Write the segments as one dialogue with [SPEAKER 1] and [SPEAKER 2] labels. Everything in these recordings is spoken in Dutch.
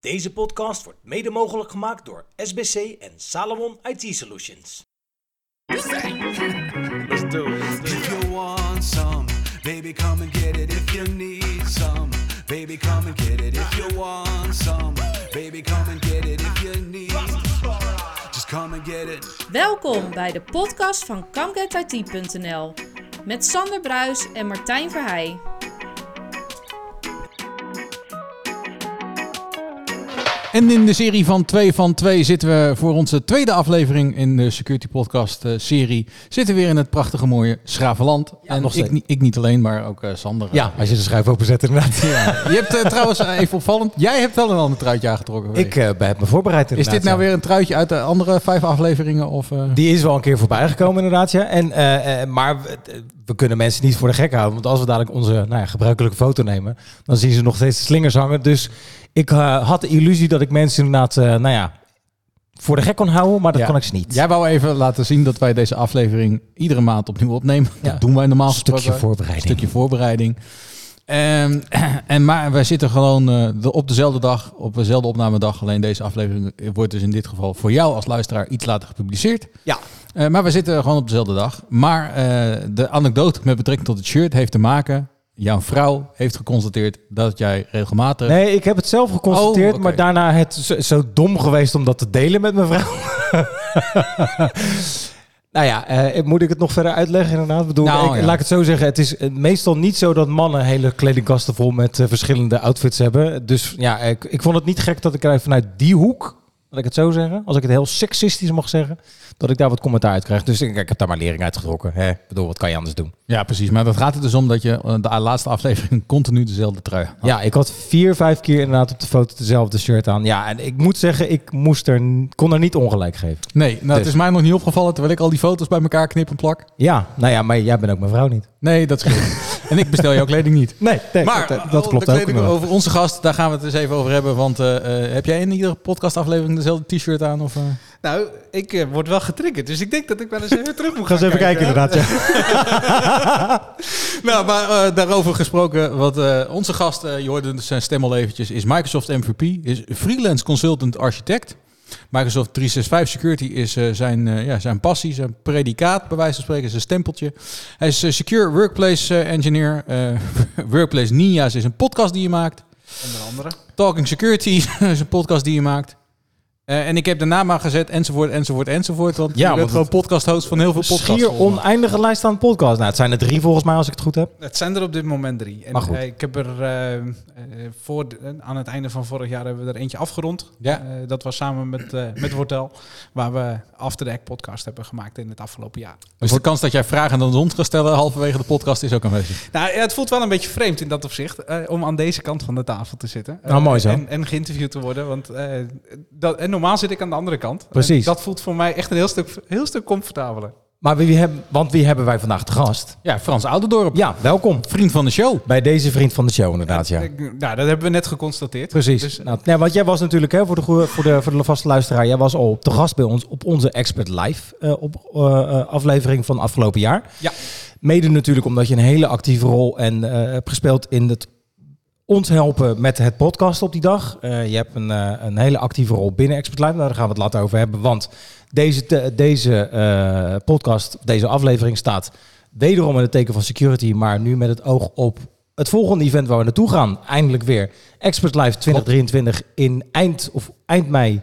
[SPEAKER 1] Deze podcast wordt mede mogelijk gemaakt door SBC en Salomon IT Solutions.
[SPEAKER 2] Let's do it. Let's do it.
[SPEAKER 3] If you want some, baby, come and get it. If you need some, baby, come and get it. If you want some, baby, come and get it. If you need, just come and get it.
[SPEAKER 4] Welkom bij de podcast van ComeGetIT.nl met Sander Bruis en Martijn Verheij.
[SPEAKER 5] En in de serie van 2 van 2 zitten we voor onze tweede aflevering in de Security Podcast eh, serie. Zitten we weer in het prachtige mooie Schravenland. en
[SPEAKER 6] nog
[SPEAKER 5] ik,
[SPEAKER 6] steeds.
[SPEAKER 5] ni- ik niet alleen, maar ook eh, Sander.
[SPEAKER 6] Ja, als je de schuif openzet inderdaad.
[SPEAKER 5] Je hebt eh, trouwens eh, even opvallend, jij hebt wel een ander truitje aangetrokken.
[SPEAKER 6] Ik eh, ben- heb me voorbereid
[SPEAKER 5] Is
[SPEAKER 6] inderdaad.
[SPEAKER 5] dit nou
[SPEAKER 6] ja.
[SPEAKER 5] weer een truitje uit de andere vijf afleveringen? Of, eh?
[SPEAKER 6] Die is wel een keer voorbij gekomen inderdaad, ja. En, eh, eh, maar we, eh, we kunnen mensen niet voor de gek houden. Want als we dadelijk onze nou ja, gebruikelijke foto nemen, dan zien ze nog steeds de slingers hangen. Dus ik eh, had de illusie dat ik mensen inderdaad, eh, nou ja, voor de gek kon houden. Maar dat
[SPEAKER 5] Ja.
[SPEAKER 6] kan ik ze niet.
[SPEAKER 5] Jij wou even laten zien dat wij deze aflevering iedere maand opnieuw opnemen.
[SPEAKER 6] Ja.
[SPEAKER 5] Dat doen wij normaal
[SPEAKER 6] Een stukje
[SPEAKER 5] gesproken.
[SPEAKER 6] voorbereiding.
[SPEAKER 5] Een stukje voorbereiding. Ehm, en maar wij zitten gewoon eh, de- op dezelfde dag, op dezelfde opnamedag. Alleen deze aflevering wordt dus in dit geval voor jou als luisteraar iets later gepubliceerd.
[SPEAKER 6] Ja.
[SPEAKER 5] Eh, maar we zitten gewoon op dezelfde dag. Maar eh, de anekdote met betrekking tot het shirt heeft te maken. Jouw vrouw heeft geconstateerd dat jij regelmatig...
[SPEAKER 6] Nee, ik heb het zelf geconstateerd,
[SPEAKER 5] Oh, oké.
[SPEAKER 6] maar daarna het zo, zo dom geweest om dat te delen met mijn vrouw. nou ja, eh, moet ik het nog verder uitleggen inderdaad? Ik Bedoel,
[SPEAKER 5] Nou,
[SPEAKER 6] ik,
[SPEAKER 5] ja.
[SPEAKER 6] Laat ik het zo zeggen, het is eh, meestal niet zo dat mannen hele kledingkasten vol met eh, verschillende outfits hebben. Dus ja, ik, ik vond het niet gek dat ik er vanuit die hoek, laat ik het zo zeggen, als ik het heel seksistisch mag zeggen, dat ik daar wat commentaar uit krijg. Dus ik, ik heb daar maar lering uit getrokken. Hè? Ik bedoel, wat kan je anders doen?
[SPEAKER 5] Ja, precies. Maar dat gaat er dus om dat je eh, de laatste aflevering continu dezelfde trui had.
[SPEAKER 6] Ja, ik had vier, vijf keer inderdaad op de foto dezelfde shirt aan. Ja, en ik moet zeggen, ik moest er, n- kon er niet ongelijk geven.
[SPEAKER 5] Nee, nou, het
[SPEAKER 6] Dus-
[SPEAKER 5] is mij nog niet opgevallen terwijl ik al die foto's bij elkaar knip en plak.
[SPEAKER 6] Ja, nou ja, maar jij bent ook mijn vrouw niet.
[SPEAKER 5] Nee, dat scheelt. en ik bestel jouw kleding niet.
[SPEAKER 6] Nee,
[SPEAKER 5] Maar
[SPEAKER 6] dat,
[SPEAKER 5] eh,
[SPEAKER 6] klopt
[SPEAKER 5] de
[SPEAKER 6] ook.
[SPEAKER 5] kleding over onze gast, daar gaan we het eens even over hebben. Want eh, eh, heb jij in iedere podcastaflevering dezelfde t-shirt aan? Of, eh?
[SPEAKER 7] Nou, ik eh, word wel getriggerd, dus ik denk dat ik wel eens even terug moet
[SPEAKER 6] Ga
[SPEAKER 7] gaan
[SPEAKER 6] eens even kijken,
[SPEAKER 7] hè?
[SPEAKER 6] inderdaad. Ja.
[SPEAKER 5] Nou, maar eh, daarover gesproken, wat eh, onze gast, eh, je hoorde zijn stem al eventjes, is Microsoft MVP, is freelance consultant architect. Microsoft 365 Security is eh, zijn, eh, ja, zijn passie, zijn predicaat, bij wijze van spreken, zijn stempeltje. Hij is eh, Secure Workplace eh, Engineer. eh, Workplace Ninja's is een podcast die je maakt.
[SPEAKER 7] Onder andere.
[SPEAKER 5] Talking Security is een podcast die je maakt. Eh, en ik heb de naam aan gezet, enzovoort, enzovoort, enzovoort. Want
[SPEAKER 6] Ja,
[SPEAKER 5] je bent
[SPEAKER 6] want
[SPEAKER 5] gewoon podcast-host van heel veel podcasts.
[SPEAKER 6] Schier
[SPEAKER 5] volgens mij.
[SPEAKER 6] oneindige lijst aan podcast. Nou, het zijn er drie volgens mij, als ik het goed heb.
[SPEAKER 7] Het zijn er op dit moment drie. En
[SPEAKER 6] Maar goed.
[SPEAKER 7] eh, ik heb er eh, eh, voor de- eh, aan het einde van vorig jaar hebben we er eentje afgerond.
[SPEAKER 5] Ja.
[SPEAKER 7] Eh, dat was samen met, eh met Wortel, waar we After the Hack podcast hebben gemaakt in het afgelopen jaar.
[SPEAKER 5] Dus de kans dat jij vragen aan de hond gaat stellen halverwege de podcast is ook aanwezig.
[SPEAKER 7] Nou, ja, het voelt wel een beetje vreemd in dat opzicht eh, om aan deze kant van de tafel te zitten. Eh,
[SPEAKER 6] Nou, mooi zo.
[SPEAKER 7] En, en geïnterviewd te worden, want eh, dat, en normaal zit ik aan de andere kant.
[SPEAKER 6] Precies.
[SPEAKER 7] En dat voelt voor mij echt een heel stuk, heel stuk comfortabeler.
[SPEAKER 6] Maar wie hebben, want wie hebben wij vandaag te gast?
[SPEAKER 5] Ja, Frans Oudendorp,
[SPEAKER 6] Ja, welkom.
[SPEAKER 5] vriend van de show.
[SPEAKER 6] Bij deze vriend van de show, inderdaad, ja.
[SPEAKER 7] Ik- Nou, dat hebben we net geconstateerd.
[SPEAKER 6] Precies.
[SPEAKER 7] Dus,
[SPEAKER 6] nou, ja, want jij was natuurlijk, hè, voor, de, goe- voor, de, voor de vaste luisteraar, jij was al op de gast bij ons op onze Expert Live eh, op, eh, eh, aflevering van afgelopen jaar.
[SPEAKER 7] Ja.
[SPEAKER 6] Mede natuurlijk omdat je een hele actieve rol en, eh, hebt gespeeld in het ons helpen met het podcast op die dag. Eh, je hebt een, eh, een hele actieve rol binnen Expert Live. Nou, daar gaan we het later over hebben. Want deze, te- deze eh, podcast, deze aflevering staat wederom in het teken van security. Maar nu met het oog op het volgende event waar we naartoe gaan. Eindelijk weer Expert Live 2023 in eind, of eind mei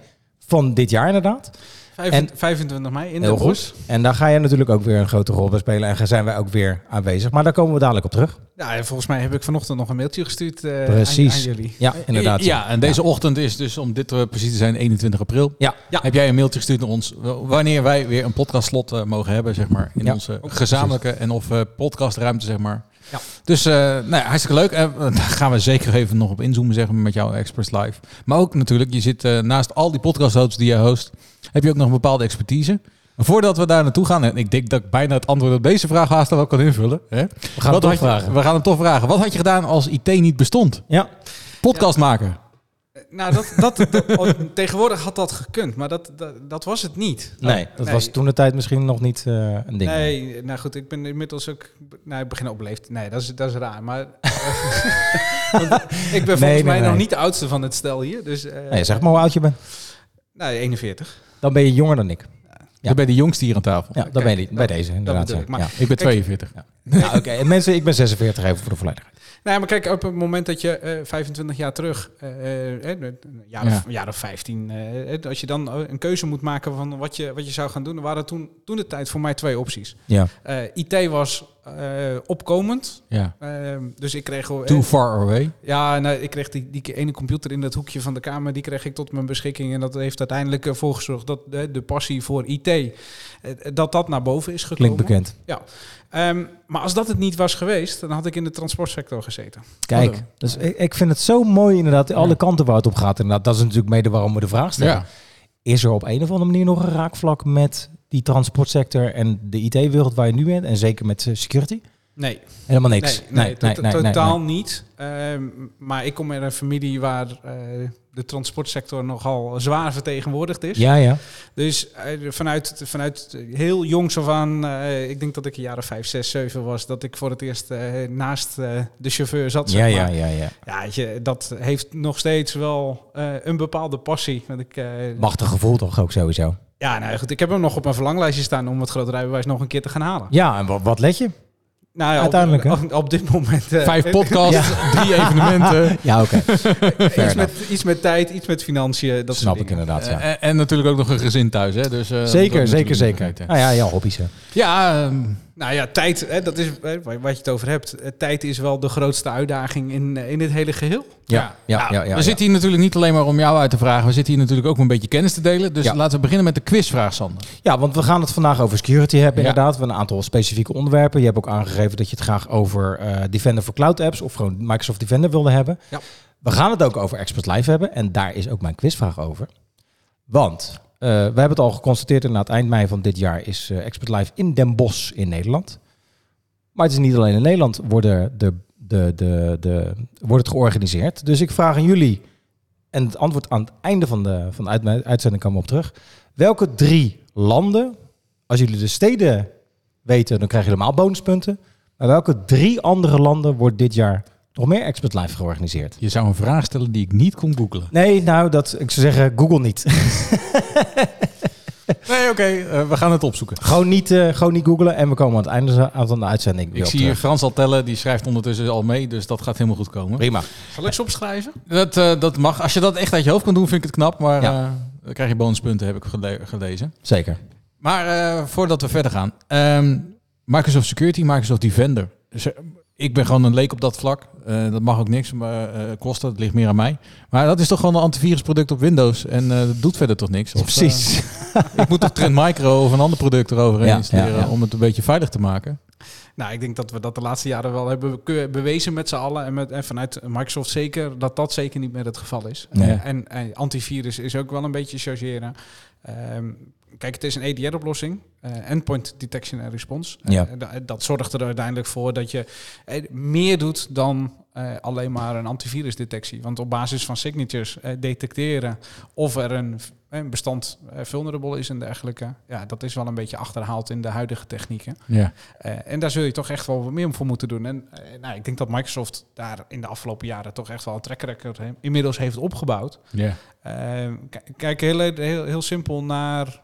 [SPEAKER 6] van dit jaar inderdaad.
[SPEAKER 7] Vijf-
[SPEAKER 6] En-
[SPEAKER 7] 25 mei in
[SPEAKER 6] Heel
[SPEAKER 7] de
[SPEAKER 6] goed.
[SPEAKER 7] bos.
[SPEAKER 6] En daar ga jij natuurlijk ook weer een grote rol bij spelen. En daar zijn wij ook weer aanwezig. Maar daar komen we dadelijk op terug.
[SPEAKER 7] Nou, Ja, en volgens mij heb ik vanochtend nog een mailtje gestuurd eh,
[SPEAKER 6] Precies.
[SPEAKER 7] aan, aan jullie.
[SPEAKER 6] Ja, inderdaad.
[SPEAKER 5] Ja, en deze ochtend is dus, om dit eh, precies te zijn, 21 april.
[SPEAKER 6] Ja.
[SPEAKER 7] Ja.
[SPEAKER 5] Heb jij een mailtje gestuurd naar ons, w- wanneer wij weer een podcastslot eh, mogen hebben, zeg maar, in
[SPEAKER 6] Ja,
[SPEAKER 5] onze gezamenlijke en of eh, podcastruimte, zeg maar.
[SPEAKER 6] Ja.
[SPEAKER 5] Dus, eh nou ja, hartstikke leuk. Eh, daar gaan we zeker even nog op inzoomen, zeg maar, met jouw Express Live. Maar ook natuurlijk, je zit eh, naast al die podcasthosts die je host, heb je ook nog een bepaalde expertise. Maar Voordat we daar naartoe gaan, en ik denk dat ik bijna het antwoord op deze vraag haast al wel kan invullen. Hè?
[SPEAKER 6] We gaan het toch
[SPEAKER 5] Wat had je-
[SPEAKER 6] vragen.
[SPEAKER 5] we gaan hem toch vragen. Wat had je gedaan als IT niet bestond?
[SPEAKER 6] Ja.
[SPEAKER 5] Podcast maken.
[SPEAKER 7] Eh, Nou, dat, dat, dat- tegenwoordig had dat gekund, maar dat, dat, dat was het niet.
[SPEAKER 6] nee, dat was toen de tijd misschien nog niet eh, een ding.
[SPEAKER 7] Nee, nou goed, ik ben inmiddels ook... Nou, ik begin opleefd. Nee, dat is, dat is raar, maar... Want ik ben volgens
[SPEAKER 6] nee,
[SPEAKER 7] mij
[SPEAKER 6] nee.
[SPEAKER 7] nog niet de oudste van het stel hier, dus... eh,
[SPEAKER 6] Nee, zeg maar hoe oud je bent.
[SPEAKER 7] Nou, 41.
[SPEAKER 6] Dan ben je jonger dan ik.
[SPEAKER 5] Dan ben je de jongste hier aan tafel.
[SPEAKER 6] Ja, dan
[SPEAKER 7] Kijk,
[SPEAKER 6] ben je bij
[SPEAKER 7] dat-
[SPEAKER 6] deze inderdaad.
[SPEAKER 7] bedoel ik,
[SPEAKER 6] ja.
[SPEAKER 7] maar-
[SPEAKER 6] Ja.
[SPEAKER 5] Ik ben 42.
[SPEAKER 6] Ja, oké. En mensen, ik ben 46 even voor de volledigheid.
[SPEAKER 7] Nou, maar kijk, op het moment dat je eh, 25 jaar terug, eh, eh, eh, een jaar,
[SPEAKER 5] Ja.
[SPEAKER 7] of, een jaar of 15, eh, eh, als je dan eh, een keuze moet maken van wat je, wat je zou gaan doen, er waren toen, toen de tijd voor mij twee opties.
[SPEAKER 6] Ja.
[SPEAKER 7] Eh, IT was eh, opkomend,
[SPEAKER 5] Ja.
[SPEAKER 7] eh, dus ik kreeg... al-
[SPEAKER 5] Too far away.
[SPEAKER 7] Ja, nou, ik kreeg die, die ene computer in dat hoekje van de kamer, die kreeg ik tot mijn beschikking. En dat heeft uiteindelijk ervoor gezorgd dat de, de passie voor IT, eh, dat dat naar boven is gekomen.
[SPEAKER 6] Klinkt bekend.
[SPEAKER 7] Ehm, maar als dat het niet was geweest, dan had ik in de transportsector gezeten.
[SPEAKER 6] Kijk,
[SPEAKER 7] Hallo.
[SPEAKER 6] dus ik, ik vind het zo mooi inderdaad. Alle kanten waar het op gaat inderdaad. Dat is natuurlijk mede waarom we de vraag stellen.
[SPEAKER 5] Ja.
[SPEAKER 6] Is er op een of andere manier nog een raakvlak met die transportsector en de IT-wereld waar je nu bent? En zeker met eh, security?
[SPEAKER 7] Nee,
[SPEAKER 6] Helemaal niks.
[SPEAKER 7] Nee, nee,
[SPEAKER 6] nee,
[SPEAKER 7] to-
[SPEAKER 6] nee, nee,
[SPEAKER 7] totaal
[SPEAKER 6] nee.
[SPEAKER 7] niet. Ehm, maar ik kom uit een familie waar eh, de transportsector nogal zwaar vertegenwoordigd is.
[SPEAKER 6] Ja, ja.
[SPEAKER 7] Dus eh, vanuit, vanuit heel jongs af aan, eh, ik denk dat ik een jaar of vijf, zes, zeven was, dat ik voor het eerst eh, naast eh, de chauffeur zat.
[SPEAKER 6] Ja,
[SPEAKER 7] zeg
[SPEAKER 6] ja,
[SPEAKER 7] maar.
[SPEAKER 6] ja, ja.
[SPEAKER 7] Ja, weet je, dat heeft nog steeds wel eh, een bepaalde passie. Want ik, eh,
[SPEAKER 6] Machtig gevoel toch ook sowieso.
[SPEAKER 7] ja, nou goed, ik heb hem nog op mijn verlanglijstje staan om het groot rijbewijs nog een keer te gaan halen.
[SPEAKER 6] Ja, en wat, wat let je?
[SPEAKER 7] Nou ja, op-
[SPEAKER 6] Uiteindelijk, hè?
[SPEAKER 7] op, op dit moment. eh,
[SPEAKER 5] Vijf podcasts, drie evenementen.
[SPEAKER 6] Ja, oké. Fair
[SPEAKER 7] iets,
[SPEAKER 6] enough.
[SPEAKER 7] met, iets met tijd, iets met financiën. Dat
[SPEAKER 6] Snap
[SPEAKER 7] soort
[SPEAKER 6] ik
[SPEAKER 7] dingen.
[SPEAKER 6] inderdaad, ja.
[SPEAKER 5] Eh, en, en natuurlijk ook nog een gezin thuis. Hè? Dus, eh, dat moet
[SPEAKER 6] zeker,
[SPEAKER 5] ook
[SPEAKER 6] zeker,
[SPEAKER 5] natuurlijk
[SPEAKER 6] zeker.
[SPEAKER 5] bekijken.
[SPEAKER 6] Nou ja, ja, hobby's. hè.
[SPEAKER 5] Ja, ehm,
[SPEAKER 7] Nou ja, tijd, hè, dat is hè, waar waar je het over hebt. Eh, Tijd is wel de grootste uitdaging in, eh, in het hele geheel.
[SPEAKER 6] Ja, ja, ja. ja,
[SPEAKER 5] we zitten hier natuurlijk niet alleen maar om jou uit te vragen. We zitten hier natuurlijk ook om een beetje kennis te delen. Dus
[SPEAKER 6] Ja.
[SPEAKER 5] laten we beginnen met de quizvraag, Sander.
[SPEAKER 6] Ja, want we gaan het vandaag over security hebben
[SPEAKER 5] Ja.
[SPEAKER 6] inderdaad. We hebben een aantal specifieke onderwerpen. Je hebt ook aangegeven dat je het graag over eh, Defender voor Cloud Apps... of gewoon Microsoft Defender wilde hebben.
[SPEAKER 7] Ja.
[SPEAKER 6] We gaan het ook over Expert Live hebben. En daar is ook mijn quizvraag over. Want eh, we hebben het al geconstateerd... na het eind mei van dit jaar is eh, Expert Live in Den Bosch in Nederland. Maar het is niet alleen in Nederland worden de, de, de, de, wordt het georganiseerd. Dus ik vraag aan jullie... en het antwoord aan het einde van de, van de uit- uitzending komen we op terug... Welke drie landen, als jullie de steden weten, dan krijgen jullie helemaal bonuspunten. Maar welke drie andere landen wordt dit jaar nog meer Expert Live georganiseerd?
[SPEAKER 5] Je zou een vraag stellen die ik niet kon googlen.
[SPEAKER 6] Nee, nou, dat, ik zou zeggen, Google niet.
[SPEAKER 5] Nee, oké. eh, we gaan het opzoeken.
[SPEAKER 6] gewoon, niet eh, gewoon niet googlen en we komen aan het einde za- aan- van de uitzending weer
[SPEAKER 5] Ik
[SPEAKER 6] op
[SPEAKER 5] zie hier
[SPEAKER 6] terug.
[SPEAKER 5] Frans al tellen. Die schrijft ondertussen al mee. Dus dat gaat helemaal goed komen.
[SPEAKER 6] Prima.
[SPEAKER 7] Zal ik ze opschrijven?
[SPEAKER 5] Dat, eh, dat mag. Als je dat echt uit je hoofd kan doen, vind ik het knap. Maar
[SPEAKER 6] Ja.
[SPEAKER 5] eh, dan krijg je bonuspunten, heb ik gele- gelezen.
[SPEAKER 6] Zeker.
[SPEAKER 5] Maar eh, voordat we verder gaan. ehm, Microsoft Security, Microsoft Defender. Ze- ik ben gewoon een leek op dat vlak. Eh, dat mag ook niks maar, eh, kosten. Het ligt meer aan mij. Maar dat is toch gewoon een antivirusproduct op Windows. En eh, dat doet verder toch niks? Of, eh,
[SPEAKER 6] Precies.
[SPEAKER 5] ik moet toch Trend Micro of een ander product eroverheen
[SPEAKER 6] Ja,
[SPEAKER 5] installeren
[SPEAKER 6] ja, ja.
[SPEAKER 5] om het een beetje veilig te maken.
[SPEAKER 7] Nou, ik denk dat we dat de laatste jaren wel hebben be- bewezen met z'n allen. En, met, en vanuit Microsoft zeker dat dat zeker niet meer het geval is.
[SPEAKER 6] Nee.
[SPEAKER 7] Eh, En, en antivirus is ook wel een beetje chargeren. Ehm, kijk, het is een EDR-oplossing. eh, Endpoint Detection and Response. Eh,
[SPEAKER 6] Ja.
[SPEAKER 7] en da- dat zorgt er uiteindelijk voor dat je eh, meer doet dan eh, alleen maar een antivirusdetectie. Want op basis van signatures eh, detecteren of er een, een bestand eh, vulnerable is en dergelijke. Ja, dat is wel een beetje achterhaald in de huidige technieken.
[SPEAKER 5] Ja.
[SPEAKER 7] Eh, en daar zul je toch echt wel wat meer voor moeten doen. En eh, nou, ik denk dat Microsoft daar in de afgelopen jaren toch echt wel een track record he- inmiddels heeft opgebouwd.
[SPEAKER 5] Ja.
[SPEAKER 7] Eh, k- kijk heel, heel, heel simpel naar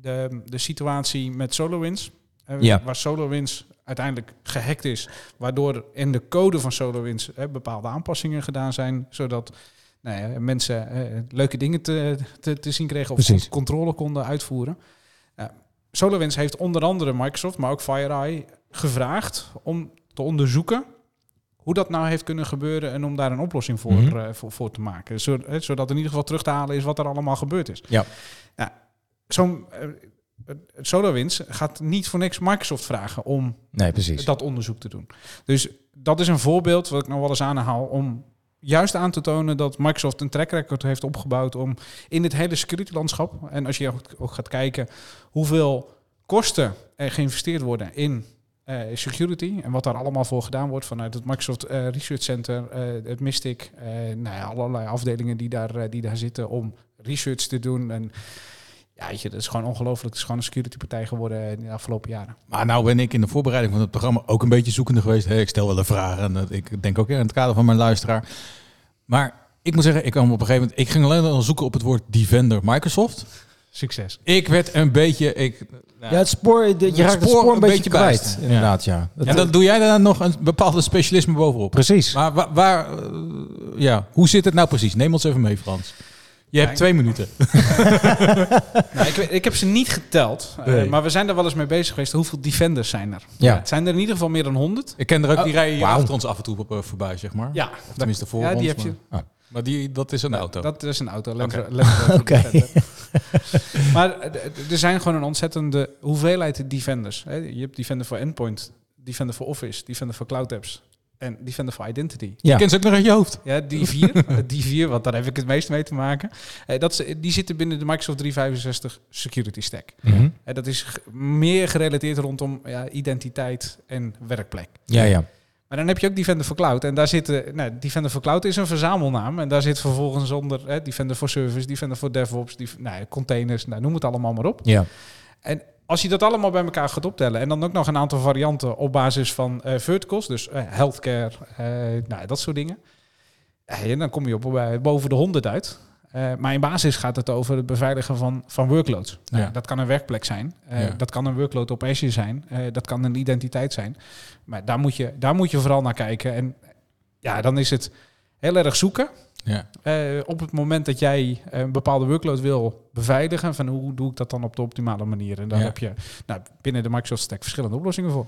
[SPEAKER 7] de, de situatie met SolarWinds. Eh,
[SPEAKER 6] Ja.
[SPEAKER 7] Waar SolarWinds uiteindelijk gehackt is. Waardoor in de code van SolarWinds eh, bepaalde aanpassingen gedaan zijn. Zodat nou ja, mensen eh, leuke dingen te, te, te zien kregen. Of
[SPEAKER 6] Precies.
[SPEAKER 7] controle konden uitvoeren. Eh, SolarWinds heeft onder andere Microsoft, maar ook FireEye gevraagd om te onderzoeken hoe dat nou heeft kunnen gebeuren en om daar een oplossing voor,
[SPEAKER 6] Mhm.
[SPEAKER 7] eh, voor, voor te maken. Zo- eh, zodat in ieder geval terug te halen is wat er allemaal gebeurd is.
[SPEAKER 6] Ja.
[SPEAKER 7] Ja, Zo'n eh, eh, SolarWinds gaat niet voor niks Microsoft vragen om
[SPEAKER 6] Nee, precies.
[SPEAKER 7] dat onderzoek te doen. Dus dat is een voorbeeld wat ik nog wel eens aanhaal om juist aan te tonen dat Microsoft een track record heeft opgebouwd om in het hele security landschap en als je ook- ook gaat kijken hoeveel kosten er geïnvesteerd worden in eh, eh, security en wat daar allemaal voor gedaan wordt vanuit het Microsoft eh, Research Center, eh, het Mystic, eh, nou ja, allerlei afdelingen die daar, eh, die daar zitten om research te doen. En ja, weet je, dat is gewoon ongelooflijk. Het is gewoon een security partij geworden eh, in de afgelopen jaren.
[SPEAKER 5] Maar nou ben ik in de voorbereiding van het programma ook een beetje zoekende geweest. Hey, ik stel wel een vraag en dat- ik denk ook ja, in het kader van mijn luisteraar. Maar ik moet zeggen, ik kwam op een gegeven moment... Ik ging alleen al zoeken op het woord Defender Microsoft.
[SPEAKER 7] Succes.
[SPEAKER 5] Ik werd een beetje... Ik,
[SPEAKER 6] Ja, het spoor, de- je
[SPEAKER 5] Het
[SPEAKER 6] raakt het
[SPEAKER 5] spoor
[SPEAKER 6] spoor een,
[SPEAKER 5] een
[SPEAKER 6] beetje,
[SPEAKER 5] beetje
[SPEAKER 6] kwijt.
[SPEAKER 5] bijst.
[SPEAKER 6] Inderdaad, ja. Dat-
[SPEAKER 5] en dan doe jij daar nog een bepaalde specialisme bovenop.
[SPEAKER 6] Precies.
[SPEAKER 5] Maar waar, waar, eh, ja, hoe zit het nou precies? Neem ons even mee, Frans. Je hebt
[SPEAKER 7] ik-
[SPEAKER 5] twee minuten.
[SPEAKER 7] Nou, ik, weet- ik heb ze niet geteld, eh,
[SPEAKER 5] Nee.
[SPEAKER 7] maar we zijn er wel eens mee bezig geweest. Hoeveel defenders zijn er?
[SPEAKER 6] Ja.
[SPEAKER 7] Het zijn er in ieder geval meer dan 100.
[SPEAKER 5] Ik ken er ook die rijden hier
[SPEAKER 6] wauw.
[SPEAKER 5] achter ons af en toe op, eh, voorbij, zeg maar.
[SPEAKER 7] Oh, Ja,
[SPEAKER 5] Of tenminste voor
[SPEAKER 7] Ja, die
[SPEAKER 5] ons.
[SPEAKER 7] heb je.
[SPEAKER 5] Maar, Ah, maar die, dat is een auto.
[SPEAKER 7] Dat is een auto.
[SPEAKER 5] Oké.
[SPEAKER 6] Oké.
[SPEAKER 7] Oké. maar eh, d- er zijn gewoon een ontzettende hoeveelheid defenders. hè. Je hebt defender voor endpoint, defender voor office, defender voor cloud apps en defender voor identity.
[SPEAKER 5] Je kent ze ook nog uit je hoofd.
[SPEAKER 7] Ja, die vier, eh, die vier, want daar heb ik het meest mee te maken. Eh, dat, ze- die zitten binnen de Microsoft 365 security stack.
[SPEAKER 6] Mhm.
[SPEAKER 7] Eh, dat is g- meer gerelateerd rondom ja, identiteit en werkplek.
[SPEAKER 6] Ja, ja.
[SPEAKER 7] Maar dan heb je ook Defender for Cloud. En daar zitten, nou, Defender for Cloud is een verzamelnaam. En daar zit vervolgens onder hè, Defender for Service, Defender for DevOps, die, nou, ja, containers, nou, noem het allemaal maar op.
[SPEAKER 6] Ja.
[SPEAKER 7] En als je dat allemaal bij elkaar gaat optellen en dan ook nog een aantal varianten op basis van eh, verticals, dus eh, healthcare, eh, nou, dat soort dingen. Eh, En dan kom je op eh, boven de 100 uit. Eh, maar in basis gaat het over het beveiligen van, van workloads. Nou,
[SPEAKER 5] Ja.
[SPEAKER 7] Dat kan een werkplek zijn. Eh,
[SPEAKER 5] Ja.
[SPEAKER 7] Dat kan een workload op Azure zijn. Eh, dat kan een identiteit zijn. Maar daar moet je, daar moet je vooral naar kijken. En ja, dan is het heel erg zoeken.
[SPEAKER 5] Ja.
[SPEAKER 7] Eh, op het moment dat jij eh, een bepaalde workload wil beveiligen, van hoe doe ik dat dan op de optimale manier? En daar
[SPEAKER 5] Ja.
[SPEAKER 7] heb je nou, binnen de Microsoft Stack verschillende oplossingen voor.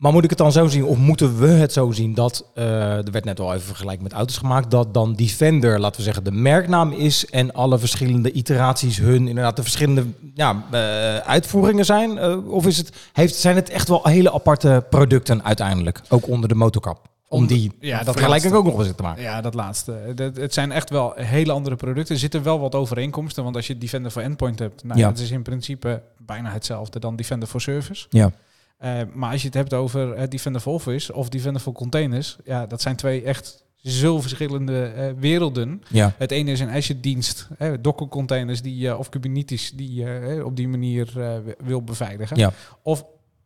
[SPEAKER 6] Maar moet ik het dan zo zien, of moeten we het zo zien, dat, eh, er werd net al even vergelijk met auto's gemaakt, dat dan Defender, laten we zeggen, de merknaam is en alle verschillende iteraties hun, inderdaad, de verschillende ja, eh, uitvoeringen zijn? Eh, of is het, heeft, zijn het echt wel hele aparte producten uiteindelijk, ook onder de motorkap? Om
[SPEAKER 7] Onder-
[SPEAKER 6] die
[SPEAKER 7] ja, dat
[SPEAKER 6] vergelijking
[SPEAKER 7] laatste.
[SPEAKER 6] ook nog eens te maken.
[SPEAKER 7] Ja, dat laatste. Eh, Dat, het zijn echt wel hele andere producten. Er zitten wel wat overeenkomsten, want als je Defender voor Endpoint hebt, nou,
[SPEAKER 6] Ja.
[SPEAKER 7] dat is in principe bijna hetzelfde dan Defender voor Service.
[SPEAKER 6] Ja.
[SPEAKER 7] Eh, maar als je het hebt over eh, Defender for Office of Defender for Containers, ja, dat zijn twee echt zo verschillende eh, werelden.
[SPEAKER 6] Ja.
[SPEAKER 7] Het ene is een Azure-dienst, eh, Docker-containers die, je of Kubernetes die je eh, op die manier eh, wi- wil beveiligen.
[SPEAKER 6] Ja.
[SPEAKER 7] Of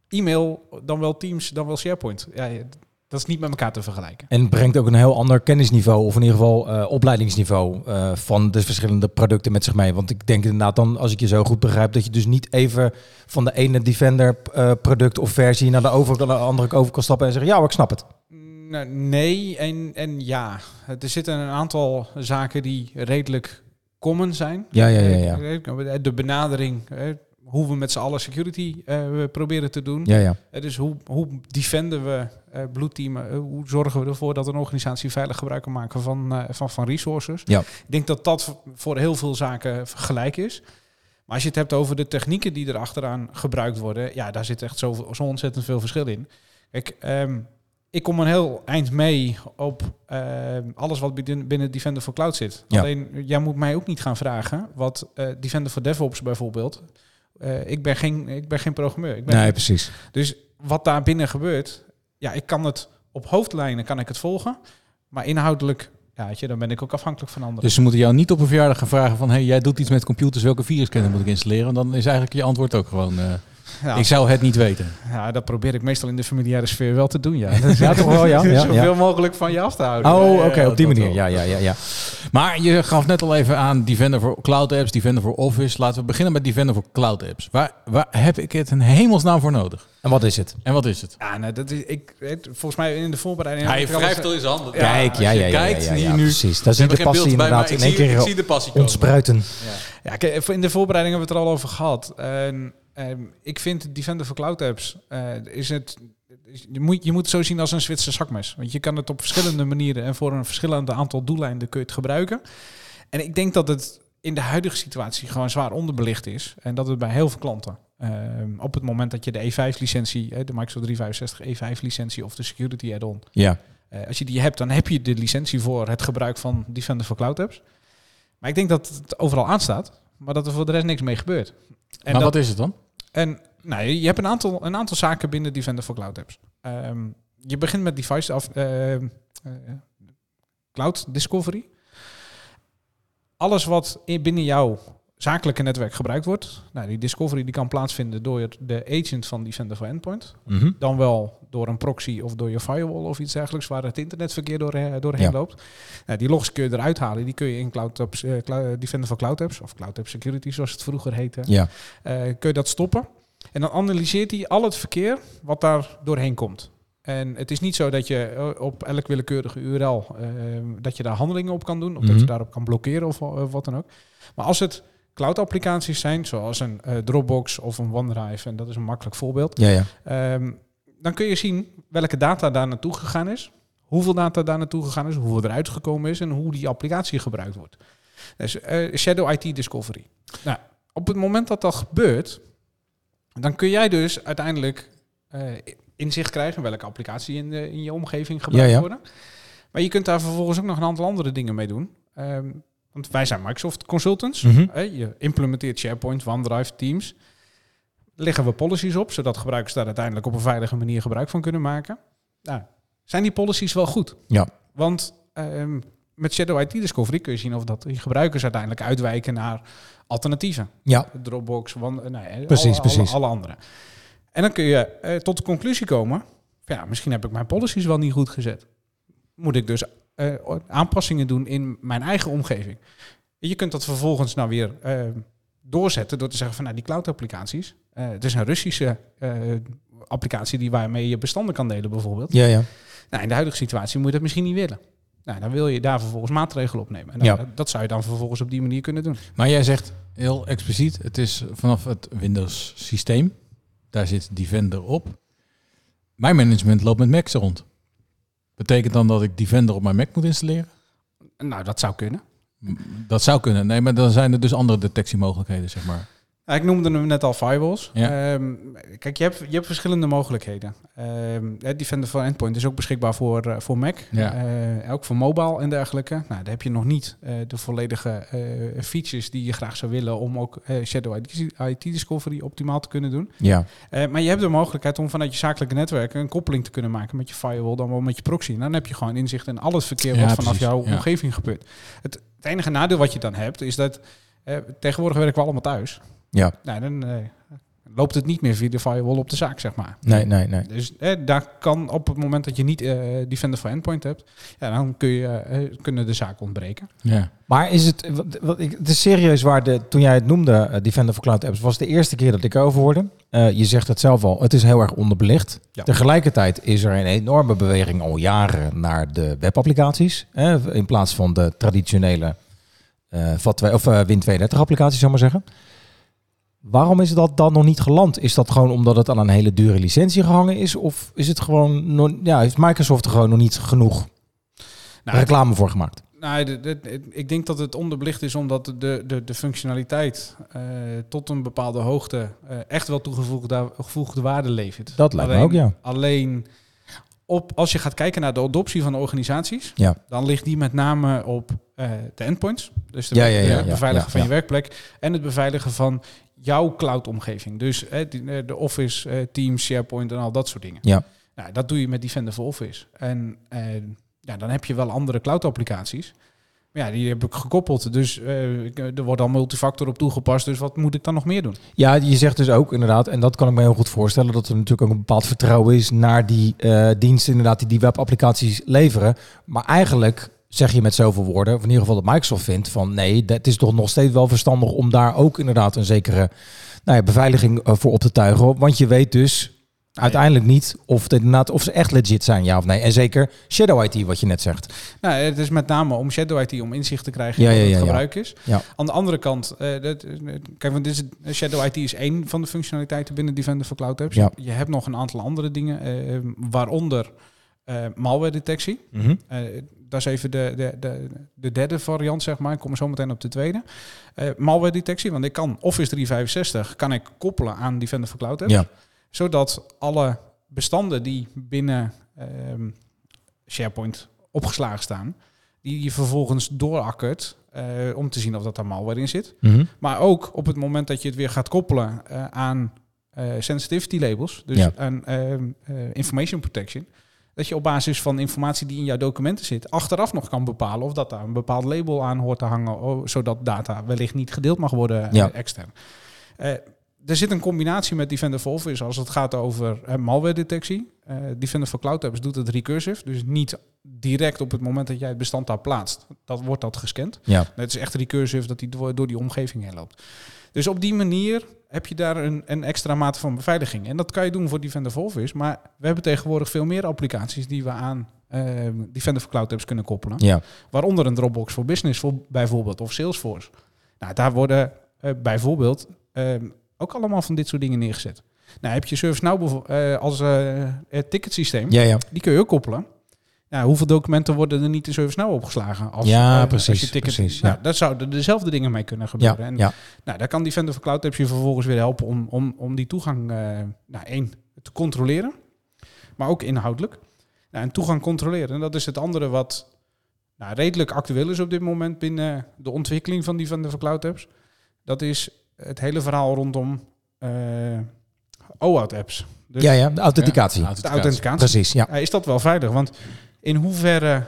[SPEAKER 7] e-mail, dan wel Teams, dan wel SharePoint. Ja, je- dat is niet met elkaar te vergelijken.
[SPEAKER 6] En brengt ook een heel ander kennisniveau, of in ieder geval eh, opleidingsniveau eh, van de verschillende producten met zich mee. Want ik denk inderdaad dan, als ik je zo goed begrijp, dat je dus niet even van de ene Defender eh, product of versie naar de, over, naar de andere over kan stappen en zeggen, ja, hoor, ik snap het.
[SPEAKER 7] Nou, nee en, en ja. Er zitten een aantal zaken die redelijk common zijn.
[SPEAKER 6] Ja, ja, ja,
[SPEAKER 7] De benadering, eh, hoe we met z'n allen security eh, we proberen te doen.
[SPEAKER 6] Ja, ja.
[SPEAKER 7] Eh, Dus hoe, hoe defenden we eh bloedteamen? Eh, hoe zorgen we ervoor dat een organisatie veilig gebruik kan maken van, eh, van, van resources?
[SPEAKER 6] Ja.
[SPEAKER 7] Ik denk dat dat v- voor heel veel zaken gelijk is. Maar als je het hebt over de technieken die er achteraan gebruikt worden, ja, daar zit echt zo, zo ontzettend veel verschil in. Kijk, ehm, ik kom een heel eind mee op ehm, alles wat binnen binnen Defender for Cloud zit.
[SPEAKER 6] Ja.
[SPEAKER 7] Alleen, jij moet mij ook niet gaan vragen wat eh, Defender for DevOps bijvoorbeeld. eh, ik, ben geen, ik ben geen programmeur. Ik ben geen
[SPEAKER 6] precies.
[SPEAKER 7] dus wat daar binnen gebeurt, ja, ik kan het op hoofdlijnen kan ik het volgen, maar inhoudelijk, ja, weet je, dan ben ik ook afhankelijk van anderen.
[SPEAKER 5] Dus ze moeten jou niet op een verjaardag gaan vragen van... hey, jij doet iets met computers, welke virusscanner moet ik installeren? En dan is eigenlijk je antwoord ook gewoon... eh,
[SPEAKER 7] ja,
[SPEAKER 5] Ik zou het niet weten.
[SPEAKER 6] Dus-
[SPEAKER 7] ja, dat probeer ik meestal in de familiaire sfeer wel te doen, ja.
[SPEAKER 6] Ja, toch wel, ja. ja,
[SPEAKER 7] Zoveel
[SPEAKER 6] ja.
[SPEAKER 7] mogelijk van je af te houden.
[SPEAKER 6] Oh,
[SPEAKER 7] Ja,
[SPEAKER 6] oké,
[SPEAKER 7] ja, ja,
[SPEAKER 6] op die
[SPEAKER 7] dat
[SPEAKER 6] manier.
[SPEAKER 7] wel.
[SPEAKER 6] Ja, ja, ja, ja.
[SPEAKER 5] Maar je gaf net al even aan Defender voor Cloud Apps, Defender voor Office. Laten we beginnen met Defender voor Cloud Apps. Waar, waar heb ik het een hemelsnaam voor nodig?
[SPEAKER 6] En wat is het?
[SPEAKER 5] En wat is het?
[SPEAKER 7] Ja, nou, dat is, ik, het- volgens mij in de voorbereiding... heb
[SPEAKER 5] Hij
[SPEAKER 7] ik alles-
[SPEAKER 5] wrijft al in zijn handen.
[SPEAKER 6] Kijk, ja,
[SPEAKER 5] als je
[SPEAKER 6] ja, ja, ja,
[SPEAKER 5] kijkt,
[SPEAKER 6] ja,
[SPEAKER 5] zie je
[SPEAKER 6] ja,
[SPEAKER 5] nu-
[SPEAKER 6] precies. Daar
[SPEAKER 5] We
[SPEAKER 6] zie je de
[SPEAKER 5] hebben geen
[SPEAKER 6] passie
[SPEAKER 5] beeld bij,
[SPEAKER 6] inderdaad
[SPEAKER 5] maar ik
[SPEAKER 6] in één
[SPEAKER 5] zie- Ik zie
[SPEAKER 6] keer eh,
[SPEAKER 5] de passie komen.
[SPEAKER 6] ontspruiten.
[SPEAKER 7] Ja, kijk, even in de voorbereiding hebben we het er al over gehad. En, ehm, ik vind Defender voor Cloud Apps eh, is het. is- Je moet, je moet het zo zien als een Zwitser zakmes. Want je kan het op verschillende manieren en voor een verschillend aantal doeleinden kun je het gebruiken. En ik denk dat het in de huidige situatie gewoon zwaar onderbelicht is. En dat het bij heel veel klanten. ehm, op het moment dat je de E5-licentie, eh, de Microsoft 365 E5-licentie of de Security Add-on
[SPEAKER 6] Ja.
[SPEAKER 7] eh, als je die hebt, dan heb je de licentie voor het gebruik van Defender voor Cloud Apps. Maar ik denk dat het overal aanstaat, maar dat er voor de rest niks mee gebeurt. En
[SPEAKER 5] maar
[SPEAKER 7] dat,
[SPEAKER 5] wat is het dan?
[SPEAKER 7] En nee, je hebt een aantal, een aantal zaken binnen Defender voor Cloud Apps. Ehm, je begint met device af, ehm, eh, Cloud Discovery. Alles wat in, binnen jouw zakelijke netwerk gebruikt wordt, nou, die discovery die kan plaatsvinden door de agent van Defender voor Endpoint
[SPEAKER 6] Mhm.
[SPEAKER 7] dan wel door een proxy of door je firewall of iets dergelijks waar het internetverkeer door, eh, doorheen
[SPEAKER 6] Ja.
[SPEAKER 7] loopt. Nou, die logs kun je eruit halen, die kun je in Cloud Apps, eh, Clou- Defender voor Cloud Apps of Cloud App Security zoals het vroeger heette,
[SPEAKER 6] Ja.
[SPEAKER 7] eh, kun je dat stoppen. En dan analyseert hij al het verkeer wat daar doorheen komt. En het is niet zo dat je eh, op elk willekeurige URL eh, dat je daar handelingen op kan doen, of dat
[SPEAKER 6] Mhm.
[SPEAKER 7] je daarop kan blokkeren of eh, wat dan ook. Maar als het cloud-applicaties zijn, zoals een eh, Dropbox of een OneDrive, en dat is een makkelijk voorbeeld.
[SPEAKER 6] Ja, ja.
[SPEAKER 7] Ehm, dan kun je zien welke data daar naartoe gegaan is, hoeveel data daar naartoe gegaan is, hoeveel eruit gekomen is en hoe die applicatie gebruikt wordt. Dus eh, Shadow IT Discovery. Nou, op het moment dat dat gebeurt, dan kun jij dus uiteindelijk eh, inzicht krijgen welke applicatie in, de, in je omgeving gebruikt
[SPEAKER 6] Ja, ja.
[SPEAKER 7] worden. Maar je kunt daar vervolgens ook nog een aantal andere dingen mee doen. Ehm, want wij zijn Microsoft consultants.
[SPEAKER 6] Mhm.
[SPEAKER 7] Hè, Je implementeert SharePoint, OneDrive, Teams. Leggen we policies op, zodat gebruikers daar uiteindelijk op een veilige manier gebruik van kunnen maken. Nou, zijn die policies wel goed?
[SPEAKER 6] Ja.
[SPEAKER 7] Want ehm, met Shadow IT Discovery kun je zien of dat die gebruikers uiteindelijk uitwijken naar alternatieven.
[SPEAKER 6] Ja.
[SPEAKER 7] Dropbox, wan, eh, nee, eh,
[SPEAKER 6] Precies,
[SPEAKER 7] alle, alle-
[SPEAKER 6] precies.
[SPEAKER 7] Alle, andere. En dan kun je eh, tot de conclusie komen, van, ja, misschien heb ik mijn policies wel niet goed gezet. Moet ik dus eh, aanpassingen doen in mijn eigen omgeving. En Je kunt dat vervolgens nou weer eh, doorzetten door te zeggen van nou, die cloud applicaties. eh, het is een Russische eh, applicatie die waarmee je bestanden kan delen bijvoorbeeld.
[SPEAKER 6] Ja, ja.
[SPEAKER 7] Nou, in de huidige situatie moet je dat misschien niet willen. Nou, dan wil je daar vervolgens maatregelen op nemen. En dan- eh,
[SPEAKER 6] Ja.
[SPEAKER 7] dat zou je dan vervolgens op die manier kunnen doen.
[SPEAKER 5] Maar Nou, jij zegt heel expliciet, het is vanaf het Windows systeem. Daar zit Defender op. Mijn management loopt met Macs rond. Betekent dan dat ik Defender op mijn Mac moet installeren?
[SPEAKER 7] Nou, dat zou kunnen.
[SPEAKER 5] M- Dat zou kunnen. Nee, maar dan zijn er dus andere detectiemogelijkheden, zeg maar.
[SPEAKER 7] Nou, ik noemde hem net al firewalls.
[SPEAKER 5] Ja.
[SPEAKER 7] Ehm, kijk, je hebt, je hebt verschillende mogelijkheden. Ehm, hè, Defender for Endpoint is ook beschikbaar voor, eh, voor Mac.
[SPEAKER 5] Ja.
[SPEAKER 7] Eh, ook voor mobile en dergelijke. Nou, daar heb je nog niet eh, de volledige eh, features die je graag zou willen om ook eh, Shadow IT, IT Discovery optimaal te kunnen doen.
[SPEAKER 6] Ja.
[SPEAKER 7] Eh, maar je hebt de mogelijkheid om vanuit je zakelijke netwerk een koppeling te kunnen maken met je firewall, dan wel met je proxy. En dan heb je gewoon inzicht in al het verkeer
[SPEAKER 5] Ja,
[SPEAKER 7] wat vanaf
[SPEAKER 5] precies,
[SPEAKER 7] jouw
[SPEAKER 5] ja.
[SPEAKER 7] omgeving gebeurt. Het, het enige nadeel wat je dan hebt, is dat eh, tegenwoordig werken we allemaal thuis.
[SPEAKER 6] Ja.
[SPEAKER 7] Nou, dan eh, loopt het niet meer via de firewall op de zaak, zeg maar.
[SPEAKER 6] Nee, nee, nee.
[SPEAKER 7] Dus eh, daar kan op het moment dat je niet eh Defender for Endpoint hebt, ja, dan kun je, eh, kunnen de zaken ontbreken. Nou,
[SPEAKER 5] Ja.
[SPEAKER 6] Maar is het, wat, wat ik, het is serieus waar, de, toen jij het noemde, eh, Defender for Cloud Apps, was de eerste keer dat ik erover hoorde. Eh, je zegt het zelf al, het is heel erg onderbelicht.
[SPEAKER 7] Ja.
[SPEAKER 6] Tegelijkertijd is er een enorme beweging al jaren naar de webapplicaties. Hè, in plaats van de traditionele eh VAT twee- of, eh, Win 32 applicaties, zou ik maar zeggen. Waarom is dat dan nog niet geland? Is dat gewoon omdat het aan een hele dure licentie gehangen is? Of is het gewoon, nog- ja, heeft Microsoft er gewoon nog niet genoeg
[SPEAKER 7] Nou,
[SPEAKER 6] reclame voor gemaakt?
[SPEAKER 7] Nou, de- de- de- ik denk dat het onderbelicht is omdat de, de, de functionaliteit eh, tot een bepaalde hoogte eh, echt wel toegevoegde, gevoegde waarde levert.
[SPEAKER 6] Dat lijkt me
[SPEAKER 7] Alleen-
[SPEAKER 6] ook, ja.
[SPEAKER 7] Alleen op, als je gaat kijken naar de adoptie van de organisaties,
[SPEAKER 6] Ja.
[SPEAKER 7] dan ligt die met name op eh, de endpoints. Dus de
[SPEAKER 6] Ja, ja, ja,
[SPEAKER 7] eh,
[SPEAKER 6] ja,
[SPEAKER 7] het beveiligen
[SPEAKER 6] ja,
[SPEAKER 7] van
[SPEAKER 6] ja.
[SPEAKER 7] je werkplek en het beveiligen van jouw cloud-omgeving. Dus eh, die- eh, de Office, eh, Teams, SharePoint en al dat soort dingen.
[SPEAKER 6] Ja.
[SPEAKER 7] Nou, dat doe je met Defender for Office. En eh, ja, dan heb je wel andere cloud-applicaties. Maar ja, die heb ik gekoppeld. Dus eh, ik- er wordt al multifactor op toegepast. Dus wat moet ik dan nog meer doen?
[SPEAKER 6] Ja, je zegt dus ook inderdaad, en dat kan ik me heel goed voorstellen, dat er natuurlijk ook een bepaald vertrouwen is naar die eh, diensten inderdaad die die webapplicaties leveren. Maar eigenlijk zeg je met zoveel woorden, of in ieder geval dat Microsoft vindt, van nee, dat is toch nog steeds wel verstandig om daar ook inderdaad een zekere nou ja, beveiliging eh, voor op te tuigen. Want je weet dus uiteindelijk niet of, het inderdaad, of ze echt legit zijn, ja of nee. En zeker Shadow IT, wat je net zegt.
[SPEAKER 7] Nou, het is met name om Shadow IT om inzicht te krijgen in
[SPEAKER 6] Ja,
[SPEAKER 7] wat
[SPEAKER 6] ja,
[SPEAKER 7] het
[SPEAKER 6] ja, ja.
[SPEAKER 7] gebruik is.
[SPEAKER 6] Ja.
[SPEAKER 7] Aan de andere kant, eh, dat, kijk, want dit is, eh, Shadow IT is één van de functionaliteiten binnen Defender for Cloud Apps.
[SPEAKER 6] Ja.
[SPEAKER 7] Je hebt nog een aantal andere dingen, eh, waaronder eh malware detectie. Eh, dat is even de, de, de, de derde variant, zeg maar. Ik kom zo meteen op de tweede. Eh malware detectie, want ik kan Office 365 kan ik koppelen aan Defender for Cloud Apps.
[SPEAKER 6] Ja.
[SPEAKER 7] Zodat alle bestanden die binnen ehm, SharePoint opgeslagen staan, die je vervolgens doorakkert eh,
[SPEAKER 6] Mhm.
[SPEAKER 7] om te zien of dat daar malware in zit. Maar ook op het moment dat je het weer gaat koppelen eh, aan eh, eh, sensitivity labels, dus
[SPEAKER 6] Ja.
[SPEAKER 7] een ehm, eh, information protection, dat je op basis van informatie die in jouw documenten zit, achteraf nog kan bepalen of dat daar een bepaald label aan hoort te hangen, o- zodat data wellicht niet gedeeld mag worden eh,
[SPEAKER 6] Ja.
[SPEAKER 7] extern. Eh, er zit een combinatie met Defender for Office als het gaat over eh, malware detectie. Eh, Defender for Cloud Apps doet het recursive, dus niet direct op het moment dat jij het bestand daar plaatst. Dat wordt dat gescand.
[SPEAKER 6] Ja.
[SPEAKER 7] Het is echt recursive dat die door, door die omgeving heen loopt. Dus op die manier heb je daar een, een extra mate van beveiliging. En dat kan je doen voor Defender for Office. Maar we hebben tegenwoordig veel meer applicaties die we aan eh, Defender for Cloud Apps kunnen koppelen.
[SPEAKER 6] Ja.
[SPEAKER 7] Waaronder een Dropbox voor Business voor, bijvoorbeeld, of Salesforce. Nou, daar worden eh, bijvoorbeeld ehm, ook allemaal van dit soort dingen neergezet. Nou, heb je ServiceNow bijvo- eh, als eh, het ticketsysteem,
[SPEAKER 6] Ja, ja.
[SPEAKER 7] die kun je ook koppelen. Nou, hoeveel documenten worden er niet in ServiceNow opgeslagen? Als,
[SPEAKER 6] Ja,
[SPEAKER 7] eh,
[SPEAKER 6] precies, precies, ja.
[SPEAKER 7] nou, Daar zouden dezelfde dingen mee kunnen
[SPEAKER 6] Ja,
[SPEAKER 7] gebeuren. en
[SPEAKER 6] ja.
[SPEAKER 7] nou, daar kan die Vendor for Cloud Apps je vervolgens weer helpen om, om, om die toegang, eh nou één, te controleren, maar ook inhoudelijk. Nou, en toegang controleren, en dat is het andere wat nou, redelijk actueel is op dit moment binnen de ontwikkeling van die Vendor for Cloud Apps. Dat is het hele verhaal rondom eh OAuth apps. Dus
[SPEAKER 6] ja, ja. De authenticatie.
[SPEAKER 7] de authenticatie.
[SPEAKER 6] Precies, ja.
[SPEAKER 7] Ja, Eh, is dat wel veilig? Want in hoeverre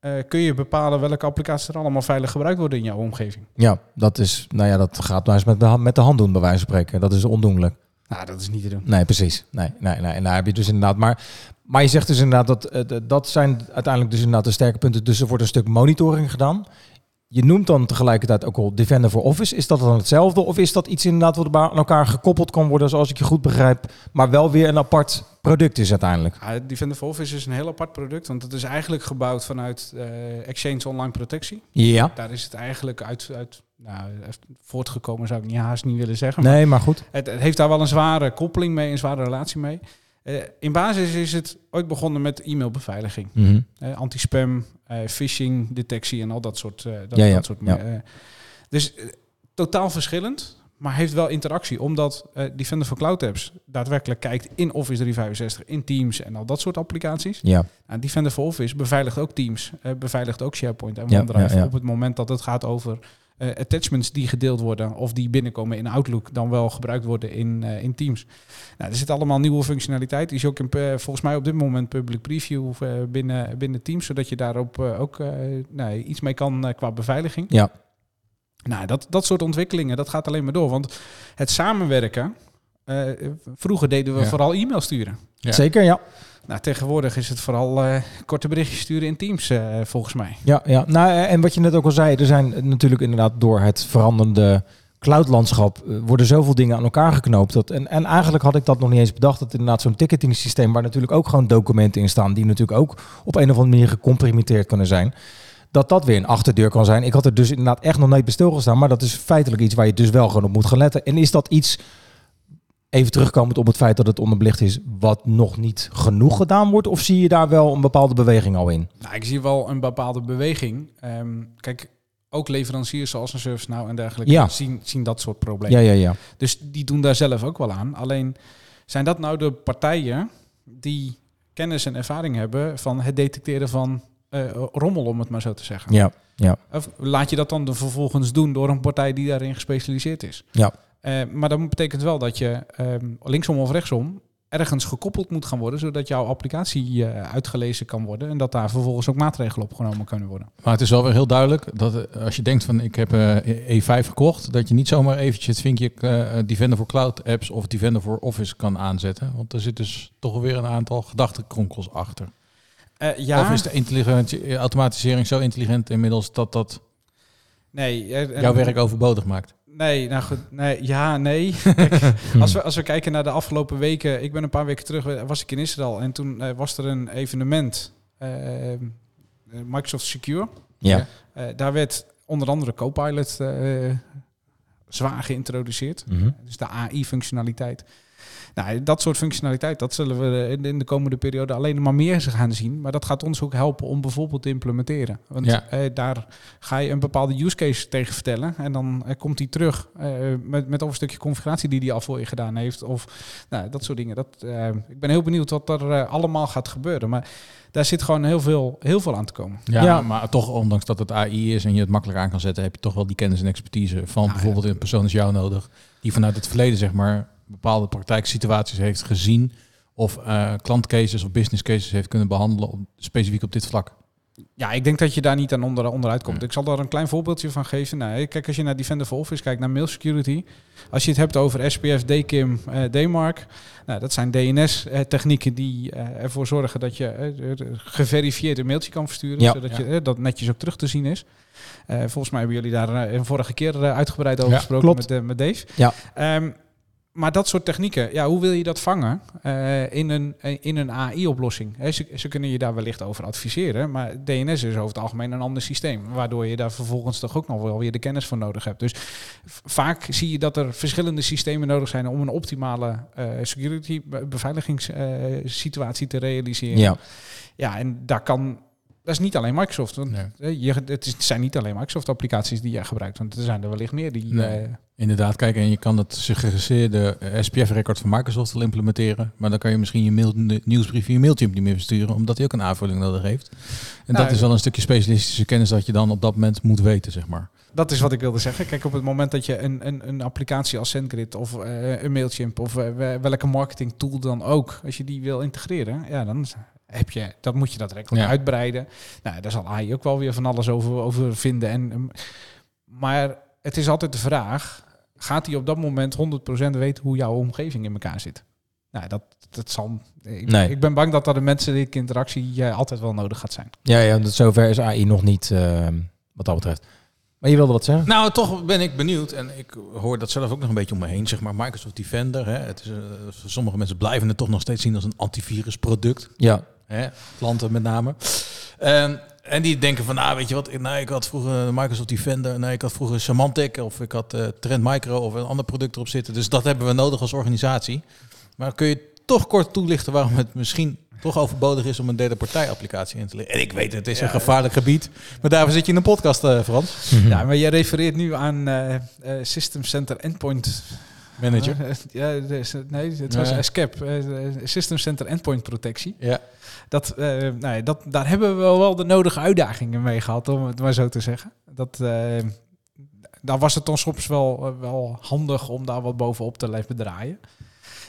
[SPEAKER 7] eh, kun je bepalen welke applicaties er allemaal veilig gebruikt worden in jouw omgeving?
[SPEAKER 6] Ja, dat is, nou ja, dat gaat maar eens met de hand, met de hand doen, bij wijze van spreken. Dat is ondoenlijk.
[SPEAKER 7] Nou, dat is niet te doen.
[SPEAKER 6] Nee, precies. Nee, nee, nee. En daar heb je dus inderdaad. Maar, maar je zegt dus inderdaad dat eh, d- dat zijn uiteindelijk dus inderdaad de sterke punten. Dus er wordt een stuk monitoring gedaan. Je noemt dan tegelijkertijd ook al Defender for Office. Is dat dan hetzelfde? Of is dat iets inderdaad wat ba- aan elkaar gekoppeld kan worden, zoals ik je goed begrijp, maar wel weer een apart product is uiteindelijk?
[SPEAKER 7] Ja, Defender for Office is een heel apart product, want het is eigenlijk gebouwd vanuit eh, Exchange Online Protectie.
[SPEAKER 6] Ja.
[SPEAKER 7] Daar is het eigenlijk uit, uit nou, voortgekomen, zou ik niet haast niet willen zeggen.
[SPEAKER 6] Nee, maar goed.
[SPEAKER 7] Het, het heeft daar wel een zware koppeling mee, een zware relatie mee. Eh, in basis is het ooit begonnen met e-mailbeveiliging.
[SPEAKER 6] Mhm.
[SPEAKER 7] Eh, anti-spam, eh, phishing, detectie en al dat soort. eh, dat,
[SPEAKER 6] Ja, ja,
[SPEAKER 7] dat soort
[SPEAKER 6] ja.
[SPEAKER 7] eh, dus eh, totaal verschillend, maar heeft wel interactie. Omdat eh Defender for Cloud Apps daadwerkelijk kijkt in Office 365, in Teams en al dat soort applicaties.
[SPEAKER 6] Ja.
[SPEAKER 7] En Nou, Defender for Office beveiligt ook Teams, eh, beveiligt ook SharePoint en
[SPEAKER 6] Ja,
[SPEAKER 7] OneDrive.
[SPEAKER 6] ja, ja.
[SPEAKER 7] Op het moment dat het gaat over eh, attachments die gedeeld worden of die binnenkomen in Outlook, dan wel gebruikt worden in, eh, in Teams. Nou, er zit allemaal nieuwe functionaliteit. Die is ook in, eh, volgens mij op dit moment public preview eh, binnen, binnen Teams, zodat je daarop eh, ook eh, nou, iets mee kan eh, qua beveiliging.
[SPEAKER 6] Ja.
[SPEAKER 7] Nou, dat, dat soort ontwikkelingen, dat gaat alleen maar door. Want het samenwerken, eh, vroeger deden we
[SPEAKER 5] Ja.
[SPEAKER 7] vooral e-mail sturen.
[SPEAKER 5] Ja.
[SPEAKER 6] Zeker, ja.
[SPEAKER 7] Nou, tegenwoordig is het vooral eh, korte berichtjes sturen in Teams, eh, volgens mij.
[SPEAKER 6] Ja, ja. Nou, eh, en wat je net ook al zei, er zijn eh, natuurlijk inderdaad door het veranderende cloudlandschap eh, worden zoveel dingen aan elkaar geknoopt. Dat, en, en eigenlijk had ik dat nog niet eens bedacht, dat inderdaad zo'n ticketing systeem, waar natuurlijk ook gewoon documenten in staan, die natuurlijk ook op een of andere manier gecomprimeerd kunnen zijn, dat dat weer een achterdeur kan zijn. Ik had er dus inderdaad echt nog nooit bij stilgestaan, maar dat is feitelijk iets waar je dus wel gewoon op moet gaan letten. En is dat iets, even terugkomend op het feit dat het onderbelicht is, wat nog niet genoeg gedaan wordt? Of zie je daar wel een bepaalde beweging al in?
[SPEAKER 7] Nou, ik zie wel een bepaalde beweging. Ehm, kijk, ook leveranciers zoals een ServiceNow en dergelijke
[SPEAKER 6] Ja.
[SPEAKER 7] zien, zien dat soort problemen.
[SPEAKER 6] Ja, ja, ja.
[SPEAKER 7] Dus die doen daar zelf ook wel aan. Alleen zijn dat nou de partijen die kennis en ervaring hebben van het detecteren van eh, rommel, om het maar zo te zeggen.
[SPEAKER 6] Ja, ja.
[SPEAKER 7] Of laat je dat dan de- vervolgens doen door een partij die daarin gespecialiseerd is?
[SPEAKER 6] Ja.
[SPEAKER 7] Eh, maar dat betekent wel dat je ehm, linksom of rechtsom ergens gekoppeld moet gaan worden, zodat jouw applicatie eh, uitgelezen kan worden en dat daar vervolgens ook maatregelen opgenomen kunnen worden.
[SPEAKER 5] Maar het is wel weer heel duidelijk dat eh, als je denkt van ik heb eh, E5 gekocht, dat je niet zomaar eventjes het vinkje eh Defender voor Cloud Apps of Defender voor Office kan aanzetten. Want er zit dus toch weer een aantal gedachtenkronkels achter.
[SPEAKER 7] Eh, ja,
[SPEAKER 5] Of is de intelligentie- automatisering zo intelligent inmiddels dat dat
[SPEAKER 7] nee, eh,
[SPEAKER 5] jouw
[SPEAKER 7] eh,
[SPEAKER 5] werk overbodig maakt?
[SPEAKER 7] Nee, nou goed. Nee, ja, nee. Kijk,
[SPEAKER 6] Hm.
[SPEAKER 5] Hm.
[SPEAKER 7] als, we, als we kijken naar de afgelopen weken. Ik ben een paar weken terug, eh, was ik in Israël. En toen eh, was er een evenement. eh, eh, Microsoft Secure.
[SPEAKER 6] Ja.
[SPEAKER 7] Eh, daar werd onder andere Copilot eh, zwaar geïntroduceerd.
[SPEAKER 6] Mhm.
[SPEAKER 7] Dus de AI-functionaliteit. Nou, dat soort functionaliteit, dat zullen we in- in de komende periode alleen maar meer gaan zien. Maar dat gaat ons ook helpen om bijvoorbeeld te implementeren. Want
[SPEAKER 5] Ja.
[SPEAKER 7] eh, daar ga je een bepaalde use case tegen vertellen. En dan eh, komt die terug eh, met, met of een stukje configuratie die die al voor je gedaan heeft. Of nou, dat soort dingen. Dat, eh, ik ben heel benieuwd wat er eh, allemaal gaat gebeuren. Maar daar zit gewoon heel veel, heel veel aan te komen.
[SPEAKER 5] Ja,
[SPEAKER 6] Ja.
[SPEAKER 5] maar toch, ondanks dat het AI is en je het makkelijk aan kan zetten, heb je toch wel die kennis en expertise van bijvoorbeeld een persoon als jou nodig. Die vanuit het verleden, zeg maar, bepaalde praktijksituaties heeft gezien of eh, klantcases of business cases heeft kunnen behandelen op, specifiek op dit vlak.
[SPEAKER 7] Ja, ik denk dat je daar niet aan onder, onderuit komt. Ik zal daar een klein voorbeeldje van geven. Nou, kijk, als je naar Defender for Office kijkt, naar Mail Security. Als je het hebt over SPF, DKIM, eh DMARC. Nou, dat zijn DNS-technieken die eh, ervoor zorgen dat je eh, de- de geverifieerd een mailtje kan versturen.
[SPEAKER 6] Ja.
[SPEAKER 7] Zodat
[SPEAKER 5] Ja.
[SPEAKER 7] Je, eh, dat netjes ook terug te zien is. Eh, volgens mij hebben jullie daar eh, een vorige keer eh, uitgebreid over
[SPEAKER 6] Ja,
[SPEAKER 7] gesproken
[SPEAKER 6] klopt.
[SPEAKER 7] met, eh, met Dave.
[SPEAKER 6] Ja.
[SPEAKER 7] Ehm, maar dat soort technieken, ja, hoe wil je dat vangen eh, in een, in een AI-oplossing? Ze, ze kunnen je daar wellicht over adviseren, maar DNS is over het algemeen een ander systeem, waardoor je daar vervolgens toch ook nog wel weer de kennis voor nodig hebt. Dus v- vaak zie je dat er verschillende systemen nodig zijn om een optimale eh, security be- beveiligingssituatie eh, te realiseren.
[SPEAKER 6] Ja.
[SPEAKER 7] Ja, en daar kan. Dat is niet alleen Microsoft. Want
[SPEAKER 5] Nee.
[SPEAKER 7] eh, je, het is- het zijn niet alleen Microsoft-applicaties die jij gebruikt. Want er zijn er wellicht meer die.
[SPEAKER 5] Nee.
[SPEAKER 7] eh,
[SPEAKER 5] Inderdaad, kijk, en je kan het suggereerde eh, SPF-record van Microsoft wel implementeren, maar dan kan je misschien je mail, nieuwsbrief in je MailChimp niet meer versturen, omdat hij ook een aanvulling nodig heeft. En
[SPEAKER 7] Nou,
[SPEAKER 5] dat is wel een stukje specialistische kennis dat je dan op dat moment moet weten, zeg maar.
[SPEAKER 7] dat is wat ik wilde zeggen. Kijk, op het moment dat je een, een, een applicatie als SendGrid of eh, een Mailchimp of eh, we- welke marketing tool dan ook, als je die wil integreren, ja, dan heb je, dat moet je dat record
[SPEAKER 5] Ja.
[SPEAKER 7] uitbreiden. Nou, daar zal AI ook wel weer van alles over, over vinden. En, ehm, maar het is altijd de vraag, gaat hij op dat moment 100% weten hoe jouw omgeving in elkaar zit? Nou, dat, dat zal. Ik,
[SPEAKER 6] Nee.
[SPEAKER 7] ik ben bang dat dat de menselijke interactie eh, altijd wel nodig gaat zijn.
[SPEAKER 6] Ja, ja, dat zover is AI nog niet, eh, wat dat betreft. Maar je wilde wat zeggen?
[SPEAKER 5] Nou, toch ben ik benieuwd. En ik hoor dat zelf ook nog een beetje om me heen. Zeg maar Microsoft Defender. Hè. Het is, eh, sommige mensen blijven het toch nog steeds zien als een antivirusproduct.
[SPEAKER 6] Ja.
[SPEAKER 5] Hè. Klanten met name. Ehm, en die denken van, nou weet je wat, ik- nou, ik had vroeger Microsoft Defender, nou, ik had vroeger Symantec of ik had eh, Trend Micro of een ander product erop zitten. Dus dat hebben we nodig als organisatie. Maar kun je toch kort toelichten waarom het misschien toch overbodig is om een derde partij applicatie in te leggen? En ik weet, het is een gevaarlijk gebied, maar daarvoor zit je in een podcast, eh, Frans.
[SPEAKER 7] Ja, maar jij refereert nu aan eh, eh, System Center Endpoint
[SPEAKER 5] Manager.
[SPEAKER 7] Eh, Ja, er is- nee, het was
[SPEAKER 5] Nee.
[SPEAKER 7] SCAP, eh, System Center Endpoint Protectie.
[SPEAKER 5] Ja.
[SPEAKER 7] Dat, eh, nou ja, dat, daar hebben we wel de nodige uitdagingen mee gehad, om het maar zo te zeggen. Dat, eh, daar was het dan soms wel, eh, wel handig om daar wat bovenop te blijven draaien.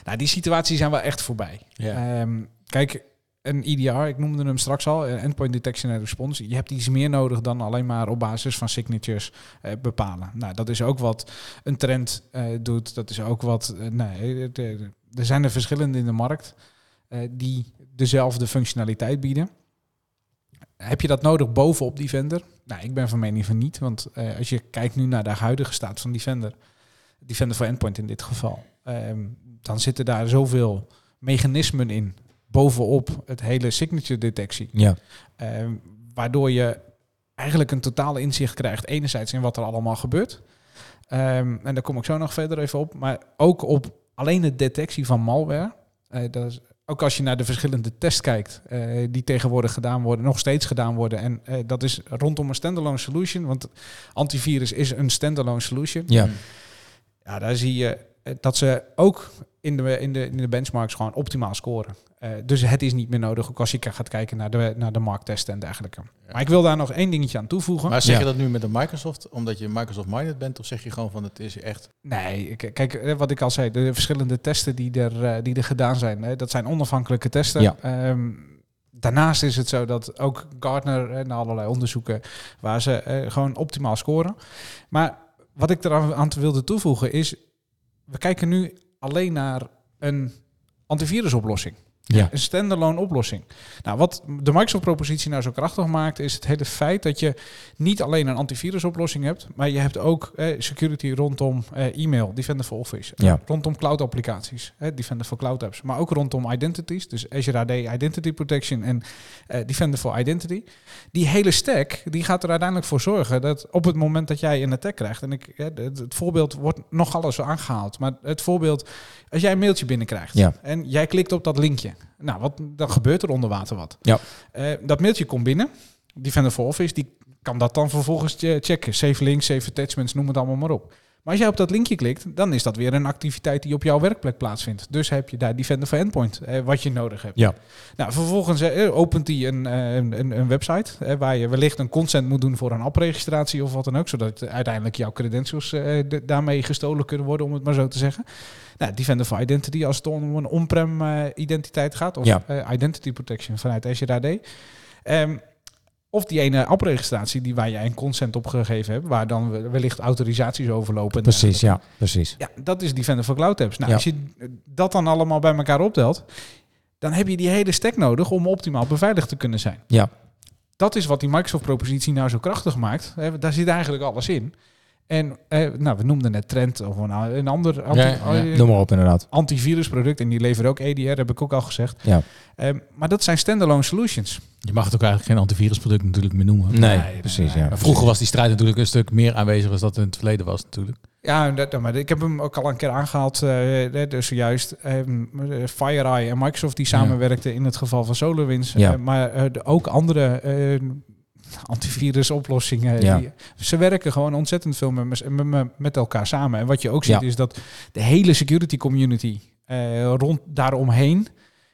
[SPEAKER 7] Nou, die situaties zijn wel echt voorbij.
[SPEAKER 5] Ja.
[SPEAKER 7] Ehm, kijk, een EDR, ik noemde hem straks al, eh, Endpoint Detection and Response. Je hebt iets meer nodig dan alleen maar op basis van signatures eh, bepalen. Nou, dat is ook wat een trend eh, doet. Dat is ook wat. eh, nee, het, eh, er zijn er verschillende in de markt eh, die dezelfde functionaliteit bieden. Heb je dat nodig bovenop die vendor? Nou, ik ben van mening van niet, want eh, als je kijkt nu naar de huidige staat van die vendor, die vendor voor endpoint in dit geval, ehm, dan zitten daar zoveel mechanismen in bovenop het hele signature detectie.
[SPEAKER 6] Ja.
[SPEAKER 7] Ehm, waardoor je eigenlijk een totale inzicht krijgt, enerzijds in wat er allemaal gebeurt. Ehm, en daar kom ik zo nog verder even op. Maar ook op alleen de detectie van malware. Eh, dat is, ook als je naar de verschillende tests kijkt, eh, die tegenwoordig gedaan worden, nog steeds gedaan worden. En eh, dat is rondom een standalone solution. Want antivirus is een standalone solution.
[SPEAKER 6] Ja.
[SPEAKER 7] Ja, daar zie je eh, dat ze ook in de, in de, in de benchmarks gewoon optimaal scoren. Eh, dus het is niet meer nodig, ook als je k- gaat kijken naar de, naar de markttesten en dergelijke. Maar ik wil daar nog één dingetje aan toevoegen.
[SPEAKER 5] Maar zeg
[SPEAKER 6] Ja.
[SPEAKER 5] je dat nu met een Microsoft, omdat je Microsoft-minded bent, of zeg je gewoon van het is echt...
[SPEAKER 7] Nee, k- kijk, eh, wat ik al zei, de verschillende testen die er, eh, die er gedaan zijn, hè, dat zijn onafhankelijke testen.
[SPEAKER 6] Ja.
[SPEAKER 7] Ehm, daarnaast is het zo dat ook Gartner en allerlei onderzoeken waar ze eh, gewoon optimaal scoren. Maar wat ik eraan aan te- wilde toevoegen is, we kijken nu alleen naar een antivirusoplossing.
[SPEAKER 6] Ja.
[SPEAKER 7] Een standalone oplossing. Nou, wat de Microsoft-propositie nou zo krachtig maakt, is het hele feit dat je niet alleen een antivirusoplossing hebt, maar je hebt ook eh, security rondom eh, e-mail, Defender for Office, eh,
[SPEAKER 6] Ja.
[SPEAKER 7] rondom cloud-applicaties, eh, Defender for Cloud Apps, maar ook rondom identities, dus Azure AD Identity Protection en eh, Defender for Identity. Die hele stack die gaat er uiteindelijk voor zorgen dat op het moment dat jij een attack krijgt, en ik, eh, het, het voorbeeld wordt nogal eens aangehaald, maar het voorbeeld, als jij een mailtje binnenkrijgt
[SPEAKER 6] Ja.
[SPEAKER 7] en jij klikt op dat linkje, nou, wat, dan gebeurt er onder water wat.
[SPEAKER 6] Ja.
[SPEAKER 7] Eh, dat mailtje komt binnen, Defender for Office, die kan dat dan vervolgens eh, checken. Save links, save attachments, noem het allemaal maar op. Maar als jij op dat linkje klikt, dan is dat weer een activiteit die op jouw werkplek plaatsvindt. Dus heb je daar Defender for Endpoint, eh, wat je nodig hebt.
[SPEAKER 6] Ja.
[SPEAKER 7] Nou, vervolgens eh, opent hij een, eh, een, een- een website eh, waar je wellicht een consent moet doen voor een appregistratie of wat dan ook. Zodat uiteindelijk jouw credentials eh, de- daarmee gestolen kunnen worden, om het maar zo te zeggen. Nou, Defender for Identity als het om een on-prem eh, identiteit gaat. Of
[SPEAKER 6] Ja.
[SPEAKER 7] eh, Identity Protection vanuit Azure AD. Ehm, of die ene appregistratie die waar jij een consent op gegeven hebt, waar dan we- wellicht autorisaties eh, overlopen. en dergelijke.
[SPEAKER 6] Precies, ja, precies.
[SPEAKER 7] Ja, dat is Defender for Cloud Apps. Nou,
[SPEAKER 6] Ja.
[SPEAKER 7] als je dat dan allemaal bij elkaar optelt, dan heb je die hele stack nodig om optimaal beveiligd te kunnen zijn.
[SPEAKER 6] Ja.
[SPEAKER 7] Dat is wat die Microsoft-propositie nou zo krachtig maakt. Hè, want Daar zit eigenlijk alles in. En eh, nou, we noemden net Trend of een, een ander anti-
[SPEAKER 5] Ja, ja.
[SPEAKER 6] Noem maar op, inderdaad.
[SPEAKER 7] antivirusproduct. En die leveren ook EDR, heb ik ook al gezegd.
[SPEAKER 6] Ja.
[SPEAKER 7] Ehm, maar dat zijn standalone solutions.
[SPEAKER 5] Je mag het ook eigenlijk geen antivirusproduct natuurlijk meer noemen.
[SPEAKER 6] Nee, precies, ja.
[SPEAKER 5] Maar Vroeger was die strijd natuurlijk een stuk meer aanwezig als dat in het verleden was natuurlijk.
[SPEAKER 7] Ja, en dat, maar ik heb hem ook al een keer aangehaald. eh, eh, dus zojuist ehm, eh, FireEye en Microsoft die samenwerkten in het geval van SolarWinds.
[SPEAKER 6] Ja.
[SPEAKER 7] Eh, maar eh, de- ook andere eh, antivirusoplossingen.
[SPEAKER 6] Ja.
[SPEAKER 7] die- ze werken gewoon ontzettend veel met, mes- met, met- met elkaar samen. En wat je ook ziet
[SPEAKER 6] Ja.
[SPEAKER 7] is dat de hele security community eh, rond daaromheen...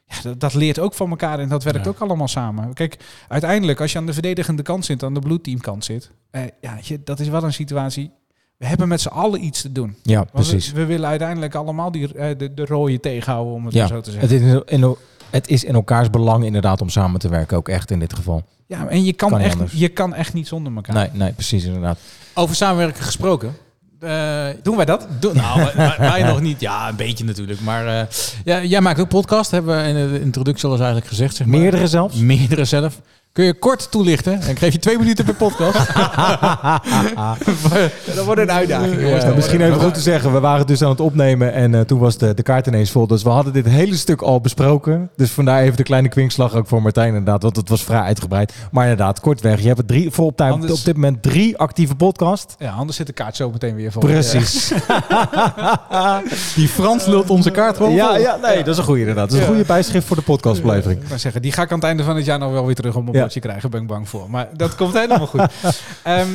[SPEAKER 7] Ja, dat, dat leert ook van elkaar en dat werkt
[SPEAKER 5] Ja.
[SPEAKER 7] ook allemaal samen. Kijk, uiteindelijk als je aan de verdedigende kant zit, aan de bloedteamkant zit... eh, ja, weet je, dat is wel een situatie... We hebben met z'n allen iets te doen.
[SPEAKER 6] Ja,
[SPEAKER 7] Want we-
[SPEAKER 6] precies.
[SPEAKER 7] We, willen uiteindelijk allemaal die, eh, de, de rode tegenhouden, om het
[SPEAKER 6] Ja,
[SPEAKER 7] maar zo te zeggen.
[SPEAKER 6] Het is, in, in- het is in elkaars belang inderdaad om samen te werken, ook echt in dit geval.
[SPEAKER 7] ja, en je kan,
[SPEAKER 6] Kan niet
[SPEAKER 7] echt,
[SPEAKER 6] anders.
[SPEAKER 7] je kan echt niet zonder elkaar.
[SPEAKER 6] Nee, nee, precies inderdaad.
[SPEAKER 5] Over samenwerken gesproken. Eh,
[SPEAKER 7] Doen wij dat?
[SPEAKER 5] do- nou, wij- wij, wij nog niet. Ja, een beetje natuurlijk. Maar eh, ja, jij maakt ook podcast, hebben we in de introductie al eens eigenlijk gezegd. Zeg maar.
[SPEAKER 6] Meerdere zelfs.
[SPEAKER 5] Meerdere zelf. Kun je kort toelichten? En ik geef je twee minuten per podcast.
[SPEAKER 7] Dat wordt een uitdaging.
[SPEAKER 5] jongens.
[SPEAKER 6] Ja, nou, misschien even goed te zeggen, we waren dus aan het opnemen en eh, toen was de, de kaart ineens vol. Dus we hadden dit hele stuk al besproken. Dus vandaar even de kleine kwinkslag ook voor Martijn inderdaad, want het was vrij uitgebreid. Maar inderdaad, kortweg, je hebt het drie, voor op, tijd,
[SPEAKER 7] Anders-
[SPEAKER 6] op dit moment drie actieve podcasts.
[SPEAKER 7] Ja, anders zit de kaart zo meteen weer vol.
[SPEAKER 6] Precies.
[SPEAKER 7] Ah,
[SPEAKER 5] Die Frans lult onze kaart wel
[SPEAKER 6] Ja,
[SPEAKER 5] vol.
[SPEAKER 6] ja, nee, dat is een goede inderdaad. Dat is een goede bijschrift voor de podcastbelevering.
[SPEAKER 7] Ik kan zeggen, die ga ik aan het einde van het jaar nog wel weer terug om een
[SPEAKER 6] Ja.
[SPEAKER 7] bordje krijgen. Ben ik bang voor. Maar dat komt helemaal goed. Ehm,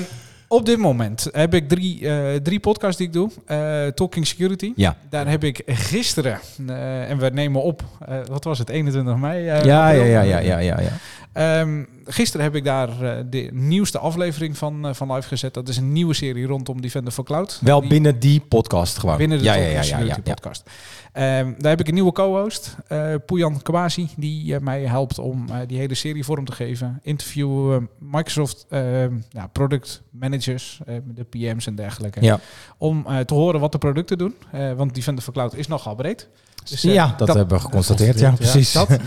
[SPEAKER 7] op dit moment heb ik drie, eh, drie podcasts die ik doe. Eh, Talking Security.
[SPEAKER 6] Ja.
[SPEAKER 7] Daar heb ik gisteren, eh, en we nemen op, eh, wat was het, 21 mei? eh,
[SPEAKER 6] Ja, ja,
[SPEAKER 7] april?
[SPEAKER 6] ja, ja, ja, ja, ja.
[SPEAKER 7] Ehm, gisteren heb ik daar eh, de nieuwste aflevering van, eh, van live gezet. Dat is een nieuwe serie rondom Defender for Cloud.
[SPEAKER 6] Wel
[SPEAKER 7] Die-
[SPEAKER 6] binnen die podcast gewoon.
[SPEAKER 7] binnen de
[SPEAKER 6] Oh. ja, ja,
[SPEAKER 7] Talking
[SPEAKER 6] ja, ja,
[SPEAKER 7] Security
[SPEAKER 6] ja, ja.
[SPEAKER 7] podcast. Ehm, daar heb ik een nieuwe co-host, eh Pujan Kwasi, die eh, mij helpt om eh, die hele serie vorm te geven. Interview Microsoft ehm, ja, product managers, eh, de PM's en dergelijke.
[SPEAKER 6] Ja.
[SPEAKER 7] Om eh, te horen wat de producten doen. Eh, want Defender for Cloud is nogal breed. Dus, eh,
[SPEAKER 6] ja, dat, hebben we geconstateerd. Ja, precies.
[SPEAKER 7] dat.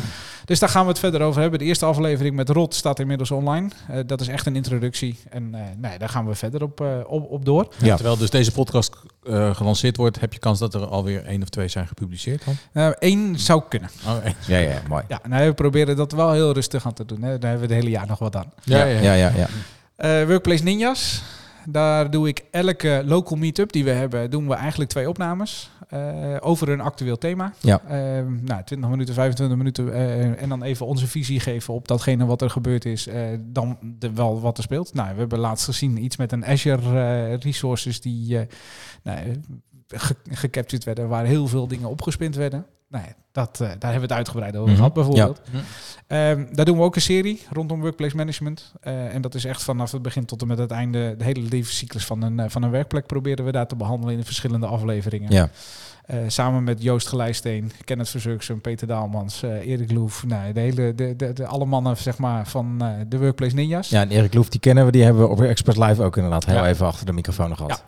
[SPEAKER 7] Dus daar gaan we het verder over hebben. De eerste aflevering met Rot staat inmiddels online. Eh, dat is echt een introductie. En eh, nee, daar gaan we verder op, eh, op, op door.
[SPEAKER 6] Ja.
[SPEAKER 5] Terwijl dus deze podcast eh, gelanceerd wordt, heb je kans dat er alweer één of twee zijn gepubliceerd. Dan?
[SPEAKER 7] Eén Eh, zou kunnen.
[SPEAKER 5] Oh, eh.
[SPEAKER 6] Ja, ja, mooi.
[SPEAKER 7] Ja, nou, we proberen dat wel heel rustig aan te doen. Hè. Daar hebben we het hele jaar nog wat aan.
[SPEAKER 5] ja, ja.
[SPEAKER 6] Ja, ja, ja.
[SPEAKER 7] Eh, Workplace Ninjas. Daar doe ik elke local meetup die we hebben, doen we eigenlijk twee opnames eh, over een actueel thema.
[SPEAKER 6] Ja.
[SPEAKER 7] Ehm, nou, 20 minuten, 25 minuten eh, en dan even onze visie geven op datgene wat er gebeurd is, eh, dan de, wel wat er speelt. Nou, we hebben laatst gezien iets met een Azure eh, Resources die eh, nou, eh, ge- gecaptured werden, waar heel veel dingen opgespind werden. Nou, ja, dat, eh, daar hebben we het uitgebreid over
[SPEAKER 6] Mhm.
[SPEAKER 7] gehad bijvoorbeeld.
[SPEAKER 5] Mhm.
[SPEAKER 7] Ehm, daar doen we ook een serie rondom workplace management. Eh, en dat is echt vanaf het begin tot en met het einde. De hele levenscyclus van een, eh, van een werkplek proberen we daar te behandelen in verschillende afleveringen.
[SPEAKER 6] Ja.
[SPEAKER 7] Eh, samen met Joost Gelijsteen, Kenneth Verzurksum, Peter Daalmans, eh, Erik Loef. Nou, de hele, de, de, de, alle mannen zeg maar, van eh, de workplace ninjas.
[SPEAKER 6] Ja, en Erik Loef, die kennen we, die hebben we op Expert Live ook inderdaad heel
[SPEAKER 7] Ja.
[SPEAKER 6] even achter de microfoon gehad.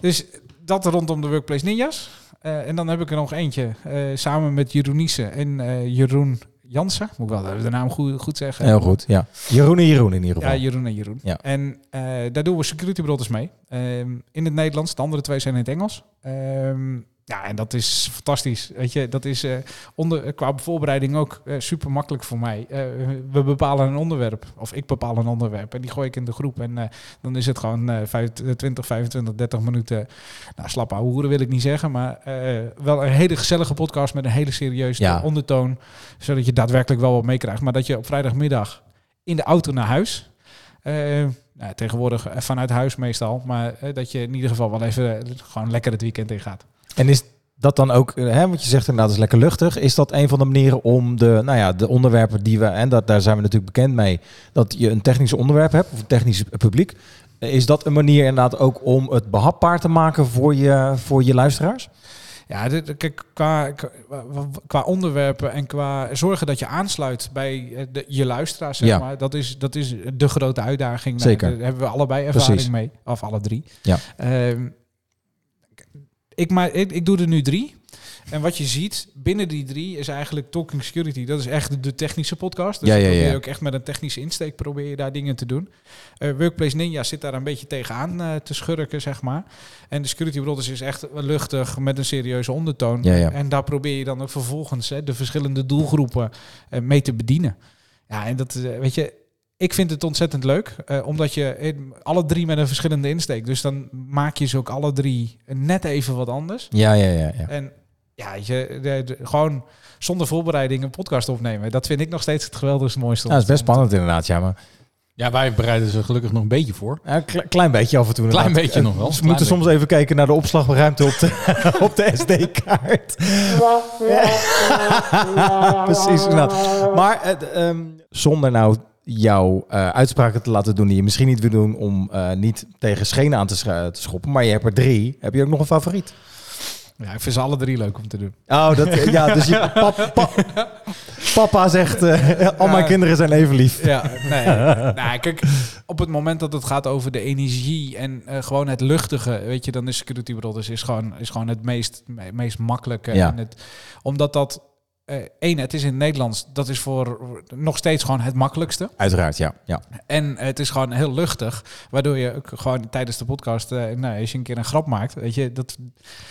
[SPEAKER 7] Dus dat rondom de workplace ninjas. Eh, en dan heb ik er nog eentje eh, samen met Jeroen Niesen en eh, Jeroen Jansen. Moet ik wel de naam goed, goed zeggen.
[SPEAKER 6] Heel goed, ja. Jeroen en Jeroen in ieder geval.
[SPEAKER 7] Ja, Jeroen en Jeroen.
[SPEAKER 6] Ja.
[SPEAKER 7] En eh, daar doen we security brothers mee. Ehm, in het Nederlands, de andere twee zijn in het Engels. Ehm, ja, en dat is fantastisch. Weet je, dat is eh, onder, qua voorbereiding ook eh, super makkelijk voor mij. Eh, we bepalen een onderwerp, of ik bepaal een onderwerp, en die gooi ik in de groep. En eh, dan is het gewoon eh, vijf- 20, 25, 30 minuten. Nou, slap hoeren wil ik niet zeggen, maar eh, wel een hele gezellige podcast met een hele serieuze
[SPEAKER 6] Ja.
[SPEAKER 7] ondertoon. Zodat je daadwerkelijk wel wat meekrijgt. Maar dat je op vrijdagmiddag in de auto naar huis eh, nou, tegenwoordig eh, vanuit huis meestal. Maar eh, dat je in ieder geval wel even eh, gewoon lekker het weekend in gaat.
[SPEAKER 6] En is dat dan ook, eh, hè, want je zegt inderdaad, het is lekker luchtig. Is dat een van de manieren om de, nou ja, de onderwerpen die we, en dat, daar zijn we natuurlijk bekend mee, dat je een technisch onderwerp hebt of een technisch publiek. Eh, Is dat een manier inderdaad ook om het behapbaar te maken voor je, voor je luisteraars?
[SPEAKER 7] Ja, dit- kijk, qua, qua- qua onderwerpen en qua zorgen dat je aansluit bij eh, de, je luisteraars, zeg
[SPEAKER 6] Ja.
[SPEAKER 7] maar. Dat is, dat is de grote uitdaging. Nou,
[SPEAKER 6] Zeker.
[SPEAKER 7] Daar hebben we allebei ervaring
[SPEAKER 6] Precies.
[SPEAKER 7] mee. Of alle drie.
[SPEAKER 6] Ja.
[SPEAKER 7] Ehm, ik, maar, ik, ik doe er nu drie. En wat je ziet binnen die drie is eigenlijk Talking Security. Dat is echt de technische podcast. Dus
[SPEAKER 6] Ja,
[SPEAKER 7] ik
[SPEAKER 6] ja, ja.
[SPEAKER 7] probeer ook echt met een technische insteek probeer je daar dingen te doen. Eh, Workplace Ninja zit daar een beetje tegenaan eh, te schurken, zeg maar. En de Security Brothers is echt luchtig met een serieuze ondertoon.
[SPEAKER 6] Ja, ja.
[SPEAKER 7] En daar probeer je dan ook vervolgens hè, de verschillende doelgroepen eh, mee te bedienen. Ja, en dat, eh, weet je, ik vind het ontzettend leuk, eh, omdat je eh, alle drie met een verschillende insteek. Dus dan maak je ze ook alle drie net even wat anders.
[SPEAKER 6] Ja, ja, ja. ja.
[SPEAKER 7] En ja, weet je, de- de- gewoon zonder voorbereiding een podcast opnemen. Dat vind ik nog steeds het geweldigste mooiste.
[SPEAKER 6] Ja, Nou, dat is best spannend inderdaad, ja. Maar
[SPEAKER 5] Ja, wij bereiden ze gelukkig nog een beetje voor.
[SPEAKER 6] ja, kle- klein beetje af en toe.
[SPEAKER 5] Klein
[SPEAKER 6] inderdaad.
[SPEAKER 5] beetje
[SPEAKER 6] Eh,
[SPEAKER 5] nog wel.
[SPEAKER 6] We
[SPEAKER 5] Klein
[SPEAKER 6] moeten soms even kijken naar de opslagruimte op de, op de SD-kaart. Precies, inderdaad. Maar eh, d- ehm, zonder nou jouw eh, uitspraken te laten doen die je misschien niet wil doen om eh, niet tegen schenen aan te, scha- te schoppen, maar je hebt er drie, heb je ook nog een favoriet?
[SPEAKER 7] Ja, ik vind ze alle drie leuk om te doen.
[SPEAKER 6] Oh, dat, ja, dus je, pap- pa- papa zegt, eh, al mijn
[SPEAKER 7] Ja.
[SPEAKER 6] kinderen zijn even lief.
[SPEAKER 7] Ja, nee. nou, kijk, op het moment dat het gaat over de energie en eh, gewoon het luchtige, weet je, dan is Security Brothers is gewoon, is gewoon het meest, me- meest makkelijke.
[SPEAKER 6] Ja.
[SPEAKER 7] En het, omdat dat, eh één, het is in het Nederlands, dat is voor nog steeds gewoon het makkelijkste.
[SPEAKER 6] Uiteraard, ja. ja.
[SPEAKER 7] En het is gewoon heel luchtig, waardoor je ook gewoon tijdens de podcast, eh, nou, als je een keer een grap maakt, weet je, dat,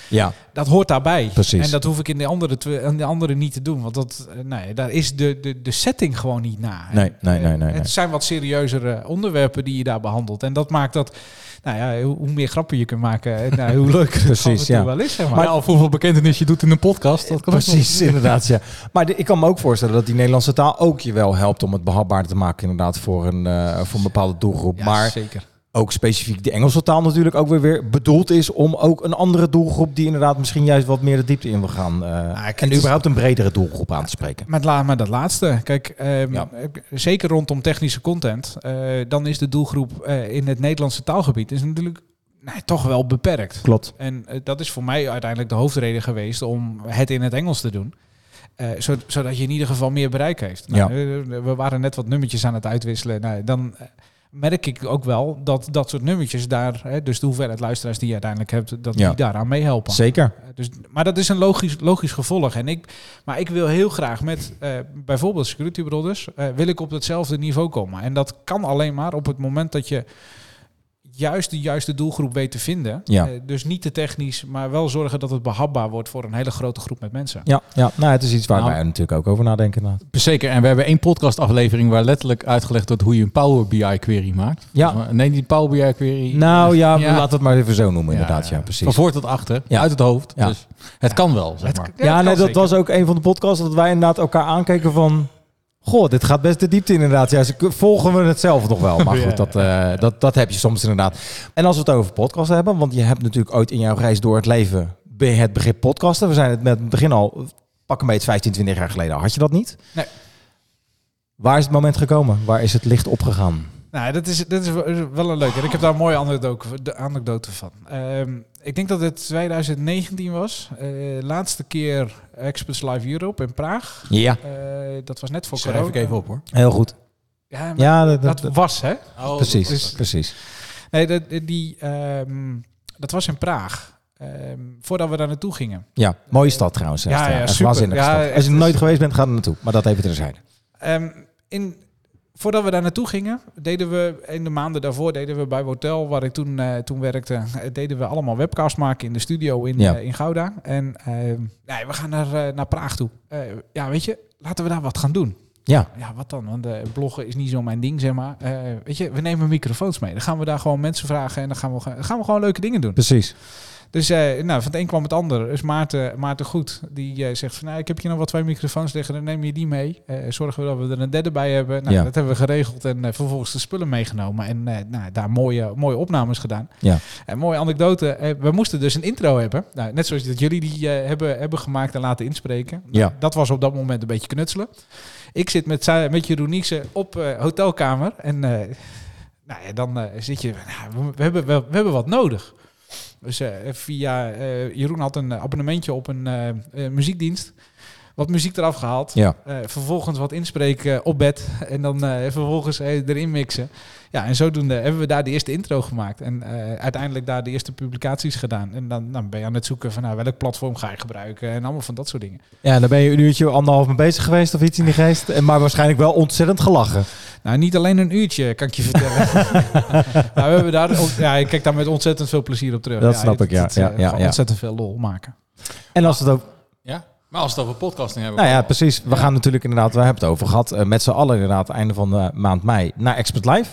[SPEAKER 6] ja.
[SPEAKER 7] dat hoort daarbij.
[SPEAKER 6] Precies.
[SPEAKER 7] En dat hoef ik in de andere, twe- in de andere niet te doen. Want dat, eh, nee, daar is de, de, de setting gewoon niet na.
[SPEAKER 6] Nee, nee, nee, nee,
[SPEAKER 7] Eh,
[SPEAKER 6] nee.
[SPEAKER 7] Het zijn wat serieuzere onderwerpen die je daar behandelt. En dat maakt dat, nou ja, hoe, hoe meer grappen je kunt maken, eh, nou, hoe leuker het
[SPEAKER 6] Precies,
[SPEAKER 7] af en toe
[SPEAKER 6] ja.
[SPEAKER 7] wel is. Zeg maar.
[SPEAKER 5] Maar ja, of hoeveel bekentenis je doet in een podcast. Dat kan ook nog.
[SPEAKER 6] Precies, inderdaad. Ja. Maar de- ik kan me ook voorstellen dat die Nederlandse taal ook je wel helpt om het behapbaar te maken, inderdaad, voor een, eh, voor een bepaalde doelgroep.
[SPEAKER 7] Ja,
[SPEAKER 6] maar
[SPEAKER 7] zeker.
[SPEAKER 6] ook specifiek de Engelse taal natuurlijk ook weer, weer bedoeld is om ook een andere doelgroep die inderdaad misschien juist wat meer de diepte in wil gaan. eh,
[SPEAKER 7] kijk, het
[SPEAKER 6] en
[SPEAKER 7] is-
[SPEAKER 6] überhaupt een bredere doelgroep aan te spreken.
[SPEAKER 7] Met, la- met dat laatste. Kijk, ehm,
[SPEAKER 6] Ja.
[SPEAKER 7] ik- zeker rondom technische content, eh, dan is de doelgroep eh, in het Nederlandse taalgebied is natuurlijk nou, toch wel beperkt.
[SPEAKER 6] Klopt.
[SPEAKER 7] En eh, dat is voor mij uiteindelijk de hoofdreden geweest om het in het Engels te doen. Eh, zo- zodat je in ieder geval meer bereik heeft. Nou,
[SPEAKER 6] Ja.
[SPEAKER 7] eh, we waren net wat nummertjes aan het uitwisselen. Nou, dan eh, merk ik ook wel dat dat soort nummertjes daar, hè, dus de hoeveelheid luisteraars die je uiteindelijk hebt, dat
[SPEAKER 6] Ja.
[SPEAKER 7] die daaraan meehelpen.
[SPEAKER 6] Zeker.
[SPEAKER 7] Eh, Dus, maar dat is een logisch, logisch gevolg. En ik, maar ik wil heel graag met eh, bijvoorbeeld Security Brothers, eh, wil ik op hetzelfde niveau komen. En dat kan alleen maar op het moment dat je juist de juiste doelgroep weet te vinden.
[SPEAKER 6] Ja.
[SPEAKER 7] Eh, dus niet te technisch, maar wel zorgen dat het behapbaar wordt voor een hele grote groep met mensen.
[SPEAKER 6] Ja, ja, nou het is iets waar
[SPEAKER 5] Nou.
[SPEAKER 6] wij natuurlijk ook over nadenken. Inderdaad.
[SPEAKER 5] Zeker, en we hebben één podcastaflevering waar letterlijk uitgelegd wordt hoe je een Power BI query maakt.
[SPEAKER 6] Ja.
[SPEAKER 5] Dus, maar nee, die Power BI query.
[SPEAKER 6] Nou ja,
[SPEAKER 5] Ja.
[SPEAKER 6] laat het maar even zo noemen, inderdaad. Ja,
[SPEAKER 5] Van
[SPEAKER 6] precies.
[SPEAKER 5] voor tot achter,
[SPEAKER 6] Ja.
[SPEAKER 5] uit het hoofd.
[SPEAKER 6] Ja.
[SPEAKER 5] Dus het kan wel, zeg maar.
[SPEAKER 7] Ja,
[SPEAKER 6] Ja, nee,
[SPEAKER 7] kan
[SPEAKER 6] dat
[SPEAKER 7] zeker.
[SPEAKER 6] was ook een van de podcasts dat wij inderdaad elkaar aankeken van... Goh, dit gaat best de diepte inderdaad. Ja, ze k- volgen we het zelf nog wel. Maar goed, dat, eh, dat, dat heb je soms inderdaad. En als we het over podcasts hebben, want je hebt natuurlijk ooit in jouw reis door het leven be- het begrip podcasten. We zijn het met het begin al, pak een beetje 15, 20 jaar geleden, had je dat niet?
[SPEAKER 7] Nee.
[SPEAKER 6] Waar is het moment gekomen? Waar is het licht opgegaan?
[SPEAKER 7] Nou, dat is, dat is wel een leuke. En ik heb daar een mooie anekdote, de anekdote van. Ehm, ik denk dat het 2019 was. Eh, laatste keer Experts Live Europe in Praag.
[SPEAKER 6] Ja.
[SPEAKER 7] Eh, dat was net voor
[SPEAKER 5] Schrijf
[SPEAKER 7] corona.
[SPEAKER 5] ik even op hoor.
[SPEAKER 6] Heel goed.
[SPEAKER 7] Ja, maar
[SPEAKER 6] Ja, dat,
[SPEAKER 7] dat,
[SPEAKER 6] dat, dat-
[SPEAKER 7] was, hè?
[SPEAKER 6] precies.
[SPEAKER 7] dat Oh, is-
[SPEAKER 6] precies.
[SPEAKER 7] Nee, dat, die, ehm, dat was in Praag. Ehm, voordat we daar naartoe gingen.
[SPEAKER 6] Ja, mooie stad trouwens.
[SPEAKER 7] Ja, ja,
[SPEAKER 6] Echt
[SPEAKER 7] super.
[SPEAKER 6] waanzinnige
[SPEAKER 7] Ja,
[SPEAKER 6] stad. Als je er nooit geweest bent, ga er naartoe. Maar dat even terzijde.
[SPEAKER 7] Ehm, in, voordat we daar naartoe gingen, deden we in de maanden daarvoor deden we bij Hotel, waar ik toen, eh, toen werkte, eh, deden we allemaal webcasts maken in de studio in,
[SPEAKER 6] Ja.
[SPEAKER 7] eh, in Gouda. En ehm, nee, we gaan naar, eh, naar Praag toe. Eh, ja, weet je, laten we daar wat gaan doen.
[SPEAKER 6] Ja.
[SPEAKER 7] Ja, wat dan? Want eh, bloggen is niet zo mijn ding, zeg maar. Eh, weet je, we nemen microfoons mee. Dan gaan we daar gewoon mensen vragen en dan gaan we, gaan we gewoon leuke dingen doen.
[SPEAKER 6] Precies.
[SPEAKER 7] Dus eh, nou, van het een kwam het ander. Dus Maarten, Maarten Goed, die eh, zegt van... Nou, ik heb hier nog wat twee microfoons liggen, dan neem je die mee. Eh, zorgen we dat we er een derde bij hebben. Nou,
[SPEAKER 6] Ja.
[SPEAKER 7] Dat hebben we geregeld en eh, vervolgens de spullen meegenomen. En eh, nou, daar mooie, mooie opnames gedaan.
[SPEAKER 6] Ja.
[SPEAKER 7] En mooie anekdote. Eh, we moesten dus een intro hebben. Nou, net zoals dat jullie die eh, hebben, hebben gemaakt en laten inspreken. Nou,
[SPEAKER 6] Ja.
[SPEAKER 7] Dat was op dat moment een beetje knutselen. Ik zit met, zij- met Jeroen Niekse op eh, hotelkamer. En eh, nou ja, dan eh, zit je... Nou, we, we hebben, wel- we, hebben wat nodig. Dus eh, via... eh, Jeroen had een abonnementje op een eh, eh, muziekdienst. Wat muziek eraf gehaald.
[SPEAKER 6] Ja.
[SPEAKER 7] Eh, vervolgens wat inspreken eh, op bed. En dan eh, vervolgens eh, erin mixen. Ja, en zodoende hebben we daar de eerste intro gemaakt. En eh, uiteindelijk daar de eerste publicaties gedaan. En dan, dan ben je aan het zoeken van nou, welk platform ga je gebruiken. En allemaal van dat soort dingen.
[SPEAKER 6] Ja, daar ben je een uurtje, anderhalf mee bezig geweest of iets in die geest. En maar waarschijnlijk wel ontzettend gelachen.
[SPEAKER 7] Nou, niet alleen een uurtje, kan ik je vertellen. nou, we hebben daar ook, ja, ik kijk daar met ontzettend veel plezier op terug.
[SPEAKER 6] Dat snap ik, ja.
[SPEAKER 7] eh,
[SPEAKER 6] Ja, ja,
[SPEAKER 7] gewoon
[SPEAKER 6] ja.
[SPEAKER 7] Ontzettend veel lol maken.
[SPEAKER 6] En als het ook...
[SPEAKER 5] Ja? Maar als we het over podcasting hebben.
[SPEAKER 6] Nou ja, precies. We gaan natuurlijk inderdaad, we hebben het over gehad, eh, met z'n allen inderdaad, einde van de maand mei, naar Expert Live.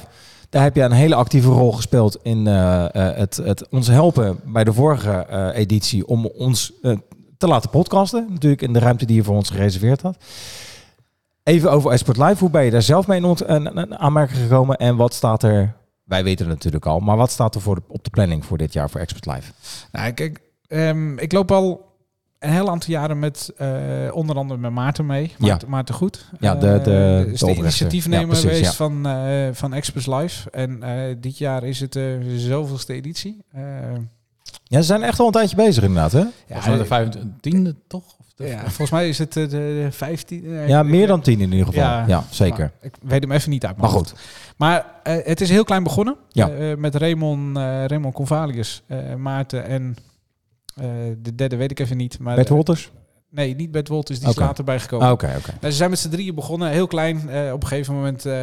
[SPEAKER 6] Daar heb je een hele actieve rol gespeeld in eh, eh, het, het ons helpen bij de vorige eh, editie om ons eh, te laten podcasten. Natuurlijk in de ruimte die je voor ons gereserveerd had. Even over Expert Live. Hoe ben je daar zelf mee in ont- een- een aanmerking gekomen en wat staat er... Wij weten het natuurlijk al, maar wat staat er voor de, op de planning voor dit jaar voor Expert Live?
[SPEAKER 7] Nou, kijk, ehm, ik loop al een heel aantal jaren met eh, onder andere met Maarten mee.
[SPEAKER 6] Ja.
[SPEAKER 7] Maarten, Maarten Goed.
[SPEAKER 6] Ja, de- de-
[SPEAKER 7] Eh,
[SPEAKER 6] de
[SPEAKER 7] is de,
[SPEAKER 6] oprichter.
[SPEAKER 7] initiatiefnemer
[SPEAKER 6] Ja, precies,
[SPEAKER 7] geweest
[SPEAKER 6] ja.
[SPEAKER 7] van, eh van Express Live. En eh, dit jaar is het de zoveelste editie. Eh,
[SPEAKER 6] Ja, ze zijn echt al een tijdje bezig inderdaad, hè?
[SPEAKER 5] Volgens mij de 25e toch? Of de-
[SPEAKER 7] ja, volgens mij is het eh, de, de 15. eh,
[SPEAKER 6] Ja,
[SPEAKER 7] ik-
[SPEAKER 6] meer dan tien in ieder geval.
[SPEAKER 7] Ja.
[SPEAKER 6] Ja, zeker.
[SPEAKER 7] Maar ik weet hem even niet uit. mijn
[SPEAKER 6] Maar
[SPEAKER 7] hoofd.
[SPEAKER 6] goed.
[SPEAKER 7] Maar eh, het is heel klein begonnen.
[SPEAKER 6] Ja.
[SPEAKER 7] Eh, met Raymond, eh Raymond Convalius, eh, Maarten en eh, de derde weet ik even niet. Maar, eh,
[SPEAKER 6] Bert Wolters?
[SPEAKER 7] nee, niet Bert Wolters. Die is
[SPEAKER 6] Oké.
[SPEAKER 7] later bijgekomen.
[SPEAKER 6] Ah, Oké, oké.
[SPEAKER 7] Nou, ze zijn met z'n drieën begonnen, heel klein. Eh, op een gegeven moment, eh,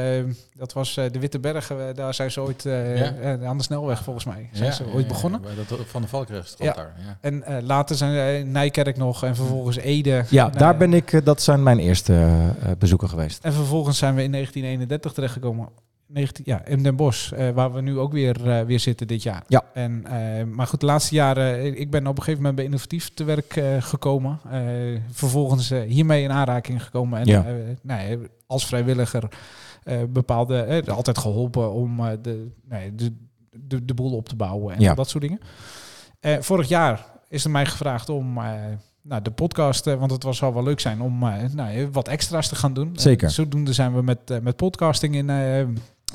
[SPEAKER 7] dat was eh, de Witte Bergen. eh, daar zijn ze ooit, eh,
[SPEAKER 5] Ja.
[SPEAKER 7] eh, aan de snelweg volgens mij, zijn
[SPEAKER 5] Ja,
[SPEAKER 7] ze
[SPEAKER 5] ja,
[SPEAKER 7] ooit
[SPEAKER 5] ja,
[SPEAKER 7] begonnen.
[SPEAKER 5] bij dat, van de Valkrecht
[SPEAKER 7] Ja.
[SPEAKER 5] ja. daar. Ja.
[SPEAKER 7] En eh, later zijn eh, Nijkerk nog en vervolgens Ede.
[SPEAKER 6] Ja,
[SPEAKER 7] Nou,
[SPEAKER 6] daar ben ik, eh, dat zijn mijn eerste eh, bezoeken geweest.
[SPEAKER 7] En vervolgens zijn we in 1931 terechtgekomen. 19, ja, in Den Bosch, eh, waar we nu ook weer, eh, weer zitten dit jaar.
[SPEAKER 6] Ja.
[SPEAKER 7] En, eh, maar goed, de laatste jaren, eh, ik ben op een gegeven moment bij Innovatief te werk eh, gekomen. Eh, vervolgens eh, hiermee in aanraking gekomen. En
[SPEAKER 6] Ja.
[SPEAKER 7] eh, nou ja, als vrijwilliger eh, bepaalde, eh, altijd geholpen om eh, de, nou ja, de, de, de boel op te bouwen en
[SPEAKER 6] Ja.
[SPEAKER 7] dat soort dingen. Eh, vorig jaar is er mij gevraagd om eh, nou, de podcast, eh, want het was, zou wel leuk zijn om eh, nou, eh, wat extra's te gaan doen. Eh,
[SPEAKER 6] Zeker.
[SPEAKER 7] zodoende zijn we met, eh, met podcasting in, eh,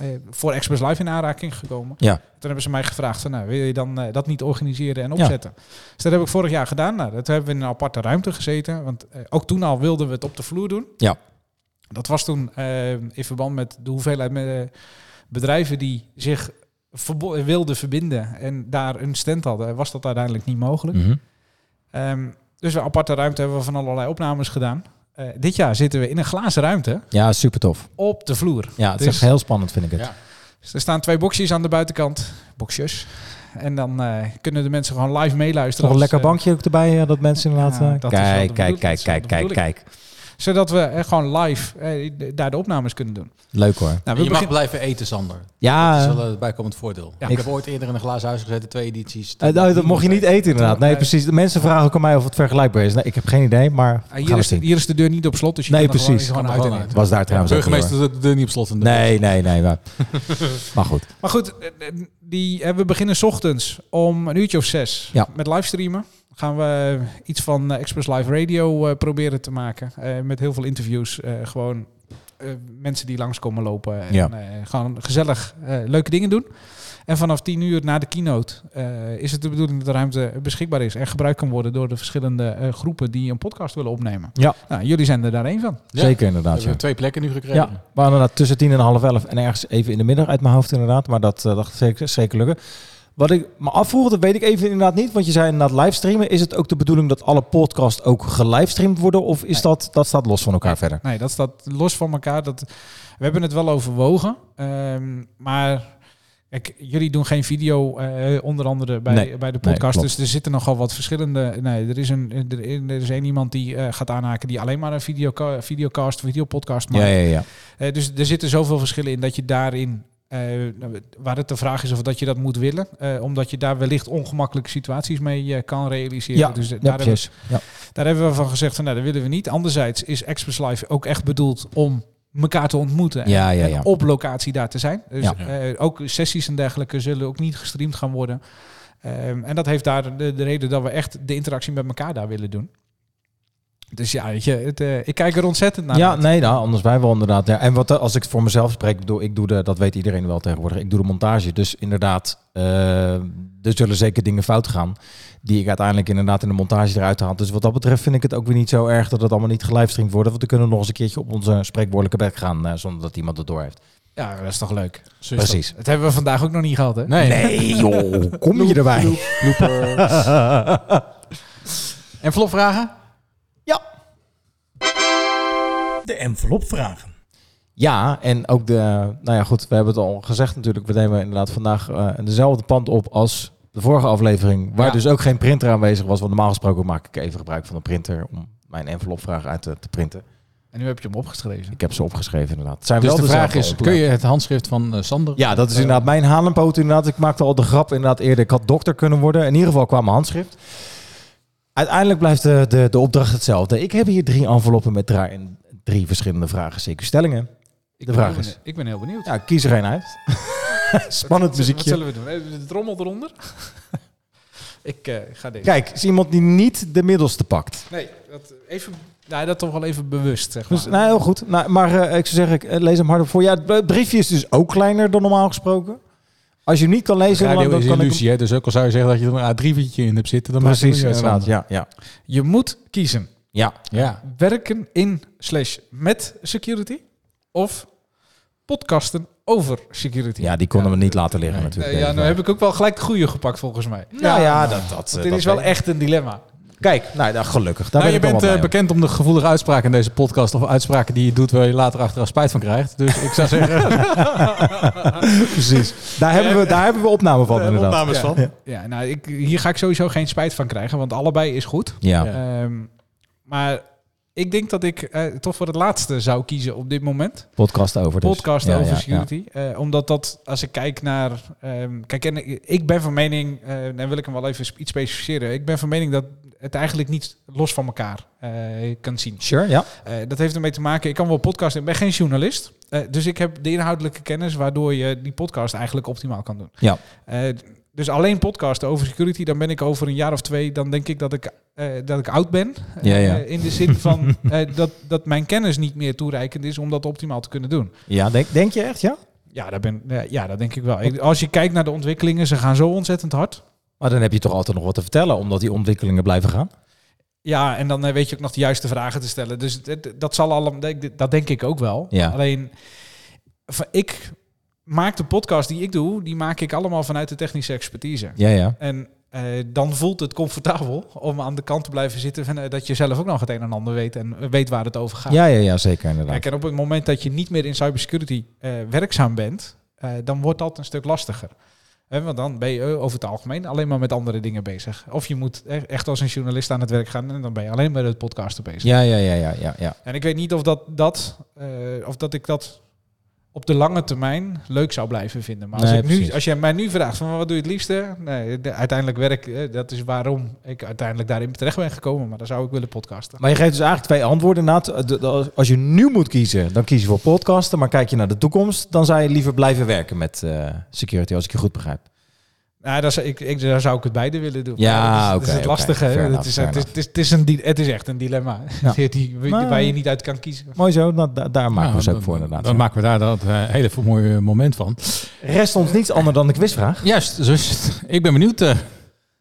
[SPEAKER 7] eh, voor Express Live in aanraking gekomen.
[SPEAKER 6] Ja.
[SPEAKER 7] Toen hebben ze mij gevraagd, van, nou, wil je dan eh, dat niet organiseren en opzetten? Dus dat heb ik vorig jaar gedaan. Nou, dat hebben we in een aparte ruimte gezeten, want eh, ook toen al wilden we het op de vloer doen.
[SPEAKER 6] Ja.
[SPEAKER 7] Dat was toen eh, in verband met de hoeveelheid met, eh, bedrijven die zich verbo- wilden verbinden en daar een stand hadden, was dat uiteindelijk niet mogelijk.
[SPEAKER 6] Mm.
[SPEAKER 5] Mhm.
[SPEAKER 7] Ehm, dus we aparte ruimte hebben we van allerlei opnames gedaan. Eh, dit jaar zitten we in een glazen ruimte
[SPEAKER 6] Ja, super tof.
[SPEAKER 7] op de vloer.
[SPEAKER 6] Ja, het
[SPEAKER 7] Dus-
[SPEAKER 6] is echt heel spannend, vind ik het.
[SPEAKER 5] Ja.
[SPEAKER 7] Dus er staan twee boxjes aan de buitenkant. Boxjes. En dan eh, kunnen de mensen gewoon live meeluisteren.
[SPEAKER 6] Toch een
[SPEAKER 7] als,
[SPEAKER 6] lekker
[SPEAKER 7] eh,
[SPEAKER 6] bankje ook erbij, eh, dat mensen inderdaad...
[SPEAKER 7] Ja,
[SPEAKER 6] eh,
[SPEAKER 7] dat is wel de
[SPEAKER 6] kijk, kijk,
[SPEAKER 7] bedoeling.
[SPEAKER 6] kijk,
[SPEAKER 7] Dat is wel
[SPEAKER 6] kijk,
[SPEAKER 7] de
[SPEAKER 6] kijk, kijk.
[SPEAKER 7] zodat we eh, gewoon live eh, d- daar de opnames kunnen doen.
[SPEAKER 6] Leuk hoor.
[SPEAKER 7] Nou,
[SPEAKER 5] En
[SPEAKER 7] we
[SPEAKER 5] je mag
[SPEAKER 7] beginnen-
[SPEAKER 5] blijven eten, Sander.
[SPEAKER 6] Ja,
[SPEAKER 5] Dat is
[SPEAKER 6] eh,
[SPEAKER 5] wel eh, het bijkomend voordeel.
[SPEAKER 7] Ja.
[SPEAKER 5] Ik
[SPEAKER 6] Ik-
[SPEAKER 5] heb ooit eerder in een glazen huis gezeten, twee edities.
[SPEAKER 6] eh, nou, dat mocht je niet eten inderdaad. Nee,
[SPEAKER 7] Nee.
[SPEAKER 6] precies. De mensen vragen ook aan mij of het vergelijkbaar is. Nee, ik heb geen idee, maar
[SPEAKER 7] Ah,
[SPEAKER 6] we gaan
[SPEAKER 7] hier, is
[SPEAKER 6] het
[SPEAKER 7] de,
[SPEAKER 6] zien.
[SPEAKER 7] hier is de deur niet op slot, dus je
[SPEAKER 6] Nee,
[SPEAKER 7] kan er gewoon-
[SPEAKER 6] precies.
[SPEAKER 7] gewoon,
[SPEAKER 5] Kan er
[SPEAKER 7] uit en
[SPEAKER 5] gewoon
[SPEAKER 7] in.
[SPEAKER 5] uit.
[SPEAKER 6] Was daar trouwens ook niet, hoor.
[SPEAKER 5] burgemeester de deur niet op slot. in de
[SPEAKER 6] Nee, nee, nee. Maar, maar goed.
[SPEAKER 7] Maar goed, eh, eh, die, eh, we beginnen 's ochtends om een uurtje of zes
[SPEAKER 6] Ja.
[SPEAKER 7] met livestreamen. Gaan we iets van eh, Express Live Radio eh, proberen te maken. Eh, met heel veel interviews. eh, gewoon eh, mensen die langskomen lopen. En
[SPEAKER 6] Ja.
[SPEAKER 7] eh, gewoon gezellig eh, leuke dingen doen. En vanaf tien uur na de keynote eh, is het de bedoeling dat de ruimte beschikbaar is. En gebruikt kan worden door de verschillende eh, groepen die een podcast willen opnemen.
[SPEAKER 6] Ja.
[SPEAKER 7] Nou, jullie zijn er daar één van.
[SPEAKER 5] Ja.
[SPEAKER 6] Zeker
[SPEAKER 5] We
[SPEAKER 6] inderdaad, ja.
[SPEAKER 5] hebben twee plekken nu gekregen.
[SPEAKER 6] Ja, maar inderdaad tussen tien en half elf en ergens even in de middag uit mijn hoofd inderdaad. Maar dat eh, dacht ik zeker, zeker lukken. Wat ik me afvroeg, dat weet ik even inderdaad niet. Want je zei inderdaad livestreamen. Is het ook de bedoeling dat alle podcasts ook gelivestreamd worden? Of is
[SPEAKER 7] Nee.
[SPEAKER 6] dat, dat staat los van elkaar verder?
[SPEAKER 7] Nee, dat staat los van elkaar. Dat, we hebben het wel overwogen. ehm, maar kijk, jullie doen geen video, eh, onder andere bij,
[SPEAKER 6] Nee,
[SPEAKER 7] bij de
[SPEAKER 6] nee,
[SPEAKER 7] podcast.
[SPEAKER 6] klopt.
[SPEAKER 7] dus er zitten nogal wat verschillende. Nee, er is een, er, er is één iemand die eh, gaat aanhaken die alleen maar een video, videocast, videopodcast maakt.
[SPEAKER 6] ja, ja.
[SPEAKER 7] Eh, dus er zitten zoveel verschillen in dat je daarin eh, nou, waar het de vraag is of dat je dat moet willen. eh, omdat je daar wellicht ongemakkelijke situaties mee eh, kan realiseren.
[SPEAKER 6] Ja,
[SPEAKER 7] dus eh,
[SPEAKER 6] Ja,
[SPEAKER 7] daar, hebben,
[SPEAKER 6] precies. Ja.
[SPEAKER 7] daar hebben we van gezegd, van, nou, dat willen we niet. Anderzijds is Express Live ook echt bedoeld om elkaar te ontmoeten. en-
[SPEAKER 6] Ja, ja,
[SPEAKER 7] en
[SPEAKER 6] ja.
[SPEAKER 7] op locatie daar te zijn. Dus
[SPEAKER 6] Ja.
[SPEAKER 7] eh, ook sessies en dergelijke zullen ook niet gestreamd gaan worden. Ehm, en dat heeft daar de, de reden dat we echt de interactie met elkaar daar willen doen. Dus ja, weet je, het, eh, ik kijk er ontzettend naar.
[SPEAKER 6] ja,
[SPEAKER 7] uit.
[SPEAKER 6] nee, nou, anders wij wel inderdaad. Ja. En wat, eh, als ik voor mezelf spreek, bedoel, ik doe de, dat weet iedereen wel tegenwoordig, ik doe de montage. Dus inderdaad, eh, er zullen zeker dingen fout gaan die ik uiteindelijk inderdaad in de montage eruit haal. Dus wat dat betreft vind ik het ook weer niet zo erg dat het allemaal niet gelivestreamd wordt. Want we kunnen nog eens een keertje op onze spreekwoordelijke bek gaan eh, zonder dat iemand het door heeft.
[SPEAKER 7] ja, dat is toch leuk.
[SPEAKER 5] Zo is dat.
[SPEAKER 6] Precies.
[SPEAKER 7] Dat hebben we vandaag ook nog niet gehad, hè?
[SPEAKER 5] Nee.
[SPEAKER 6] Nee joh, kom je erbij?
[SPEAKER 7] En flopvragen?
[SPEAKER 1] De envelopvragen.
[SPEAKER 6] Ja, en ook de, nou ja goed, we hebben het al gezegd natuurlijk, we nemen inderdaad vandaag eh, dezelfde pand op als de vorige aflevering, waar
[SPEAKER 7] Ja.
[SPEAKER 6] dus ook geen printer aanwezig was. Want normaal gesproken maak ik even gebruik van een printer om mijn envelopvraag uit te, te printen.
[SPEAKER 7] En nu heb je hem opgeschreven.
[SPEAKER 6] Ik heb ze opgeschreven inderdaad. Het Zijn
[SPEAKER 5] Dus
[SPEAKER 6] wel
[SPEAKER 5] de vraag
[SPEAKER 6] dezelfde
[SPEAKER 5] is, kun
[SPEAKER 6] onderwerpen.
[SPEAKER 5] je het handschrift van eh, Sander...
[SPEAKER 6] Ja, dat is inderdaad mijn halenpoot inderdaad. Ik maakte al de grap inderdaad eerder. Ik had dokter kunnen worden. In ieder geval kwam mijn handschrift. Uiteindelijk blijft de, de, de opdracht hetzelfde. Ik heb hier drie enveloppen met daarin drie verschillende vragen, zeker stellingen.
[SPEAKER 7] Ik
[SPEAKER 6] De
[SPEAKER 7] ben
[SPEAKER 6] vraag
[SPEAKER 7] heel
[SPEAKER 6] is-
[SPEAKER 7] benieu- Ik ben heel benieuwd.
[SPEAKER 6] Ja, kies er één uit. Spannend
[SPEAKER 7] Wat
[SPEAKER 6] muziekje.
[SPEAKER 7] zullen we doen? Even de trommel eronder? ik eh, ga deze.
[SPEAKER 6] Kijk, is iemand die niet de middelste pakt.
[SPEAKER 7] Nee, dat, even, nou, dat toch wel even bewust, zeg maar.
[SPEAKER 6] Dus, nou, heel goed. Nou, maar eh, ik zou zeggen, ik eh, lees hem harder voor. Ja, het b- briefje is dus ook kleiner dan normaal gesproken. Als je hem niet kan lezen, dan,
[SPEAKER 5] Radio
[SPEAKER 6] dan
[SPEAKER 5] is
[SPEAKER 6] kan ik
[SPEAKER 5] illusie, hè? dus ook al zou je zeggen dat je er een A3'tje in hebt zitten, dan
[SPEAKER 6] hem...
[SPEAKER 5] maakt het
[SPEAKER 6] Precies,
[SPEAKER 5] niet uit,
[SPEAKER 6] inderdaad.
[SPEAKER 5] Sander.
[SPEAKER 6] Ja, ja.
[SPEAKER 7] Je moet kiezen.
[SPEAKER 6] ja.
[SPEAKER 5] Ja.
[SPEAKER 7] Werken in slash met security of podcasten over security.
[SPEAKER 6] ja, die konden we niet laten liggen
[SPEAKER 5] Nee.
[SPEAKER 6] natuurlijk.
[SPEAKER 7] Eh, ja,
[SPEAKER 6] Deze
[SPEAKER 7] nou heb ik ook wel gelijk de goede gepakt volgens mij.
[SPEAKER 6] Nou ja, dat, dat,
[SPEAKER 7] Want
[SPEAKER 6] dat
[SPEAKER 7] dit is wel
[SPEAKER 6] weet-
[SPEAKER 7] echt een dilemma.
[SPEAKER 6] Kijk, nou, nou, gelukkig. Daar
[SPEAKER 5] nou, je
[SPEAKER 6] ben ik
[SPEAKER 5] bent
[SPEAKER 6] allemaal
[SPEAKER 5] eh, bekend om de gevoelige uitspraken in deze podcast. Of uitspraken die je doet waar je later achteraf spijt van krijgt. Dus ik zou zeggen,
[SPEAKER 6] Precies. Daar hebben, we, daar hebben we opname van, inderdaad.
[SPEAKER 7] Ja. Ja, nou, ik, hier ga ik sowieso geen spijt van krijgen, want allebei is goed.
[SPEAKER 6] Ja.
[SPEAKER 5] Ja.
[SPEAKER 7] Ehm, maar ik denk dat ik eh, toch voor het laatste zou kiezen op dit moment.
[SPEAKER 6] podcast over dus.
[SPEAKER 7] Podcast
[SPEAKER 6] Ja, ja,
[SPEAKER 7] over
[SPEAKER 6] ja.
[SPEAKER 7] security. Eh, omdat dat, als ik kijk naar... ehm, kijk, en ik ben van mening, eh en wil ik hem wel even sp- iets specificeren. Ik ben van mening dat het eigenlijk niet los van elkaar eh, kan zien.
[SPEAKER 6] Sure, ja.
[SPEAKER 7] Eh, dat heeft ermee te maken, ik kan wel podcasten, ik ben geen journalist. Eh, dus ik heb de inhoudelijke kennis waardoor je die podcast eigenlijk optimaal kan doen.
[SPEAKER 6] Ja.
[SPEAKER 7] Eh, dus alleen podcasten over security, dan ben ik over een jaar of twee, dan denk ik dat ik, eh, dat ik oud ben.
[SPEAKER 6] Ja, ja.
[SPEAKER 7] Eh, in de zin van eh, dat, dat mijn kennis niet meer toereikend is om dat optimaal te kunnen doen.
[SPEAKER 6] Ja, denk, denk je echt, ja?
[SPEAKER 7] Ja, dat, ben, eh, ja, dat denk ik wel. Ik- Als je kijkt naar de ontwikkelingen, ze gaan zo ontzettend hard.
[SPEAKER 6] Maar dan heb je toch altijd nog wat te vertellen, omdat die ontwikkelingen blijven gaan.
[SPEAKER 7] Ja, en dan eh, weet je ook nog de juiste vragen te stellen. Dus dat, dat zal allemaal, dat denk ik ook wel.
[SPEAKER 6] Ja.
[SPEAKER 7] Alleen, van- ik maak de podcast die ik doe, die maak ik allemaal vanuit de technische expertise.
[SPEAKER 6] Ja, ja.
[SPEAKER 7] En eh, dan voelt het comfortabel om aan de kant te blijven zitten van, eh, dat je zelf ook nog het een en ander weet en eh, weet waar het over gaat.
[SPEAKER 6] Ah. Ja, ja, ja, zeker inderdaad.
[SPEAKER 7] Kijk, en op het moment dat je niet meer in cybersecurity eh, werkzaam bent, eh, dan wordt dat een stuk lastiger. Hè, want dan ben je eh, over het algemeen alleen maar met andere dingen bezig. Of je moet e- echt als een journalist aan het werk gaan en dan ben je alleen maar met het podcasten bezig.
[SPEAKER 6] Ja, ja, ja, ja, ja, ja.
[SPEAKER 7] En ik weet niet of, dat, dat, eh, of dat ik dat op de lange termijn leuk zou blijven vinden. Maar als,
[SPEAKER 6] Nee,
[SPEAKER 7] ik nu,
[SPEAKER 6] precies.
[SPEAKER 7] als jij mij nu vraagt van wat doe je het liefste? Nee, de- uiteindelijk werk, eh, dat is waarom ik uiteindelijk daarin terecht ben gekomen. Maar dan zou ik willen podcasten.
[SPEAKER 6] Maar je geeft dus eigenlijk twee antwoorden. Inderdaad, De- de- als je nu moet kiezen, dan kies je voor podcasten. Maar kijk je naar de toekomst, dan zou je liever blijven werken met eh, security, als ik je goed begrijp.
[SPEAKER 7] Nou, dat zou, ik, ik, daar zou ik het beide willen doen.
[SPEAKER 6] Ja,
[SPEAKER 7] Maar dat is, dat is
[SPEAKER 6] oké,
[SPEAKER 7] het
[SPEAKER 6] oké.
[SPEAKER 7] lastige.
[SPEAKER 6] Fair
[SPEAKER 7] hè.
[SPEAKER 6] enough,
[SPEAKER 7] het, is,
[SPEAKER 6] fair
[SPEAKER 7] het, is, het, is, het is een, di- het is echt een dilemma
[SPEAKER 6] Ja.
[SPEAKER 7] die, die-
[SPEAKER 6] Maar-
[SPEAKER 7] waar je niet uit kan kiezen.
[SPEAKER 6] Mooi zo, nou, da- daar maken we
[SPEAKER 5] Nou,
[SPEAKER 6] ze ook
[SPEAKER 5] dan-
[SPEAKER 6] voor inderdaad.
[SPEAKER 5] Dan
[SPEAKER 6] Ja.
[SPEAKER 5] maken we daar dat eh, hele mooie moment van.
[SPEAKER 6] Rest ons niets anders dan de quizvraag.
[SPEAKER 5] Juist, dus ik ben benieuwd. eh,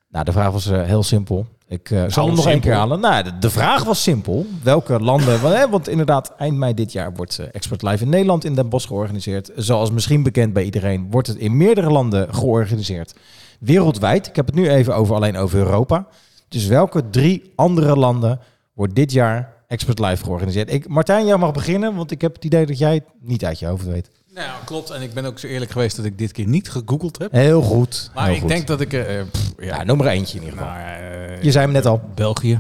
[SPEAKER 6] Nou, de vraag was eh, heel simpel. Ik eh, zal hem nog
[SPEAKER 5] simpel.
[SPEAKER 6] één keer halen. Nou, de, de vraag was simpel. Welke landen... want, hè, want inderdaad, eind mei dit jaar wordt eh, Expert Live in Nederland in Den Bosch georganiseerd. Zoals misschien bekend bij iedereen, wordt het in meerdere landen georganiseerd. Wereldwijd. Ik heb het nu even over alleen over Europa. Dus welke drie andere landen wordt dit jaar Expert Live georganiseerd? Ik, Martijn, jij mag beginnen, want ik heb het idee dat jij het niet uit je hoofd weet.
[SPEAKER 5] nou, klopt. En ik ben ook zo eerlijk geweest dat ik dit keer niet gegoogeld heb.
[SPEAKER 6] Heel goed.
[SPEAKER 5] Maar
[SPEAKER 6] heel
[SPEAKER 5] ik
[SPEAKER 6] goed.
[SPEAKER 5] denk dat ik... eh, pff, ja,
[SPEAKER 6] Ja, noem maar eentje in ieder geval.
[SPEAKER 5] nou, eh,
[SPEAKER 6] Je zei hem net al.
[SPEAKER 5] België.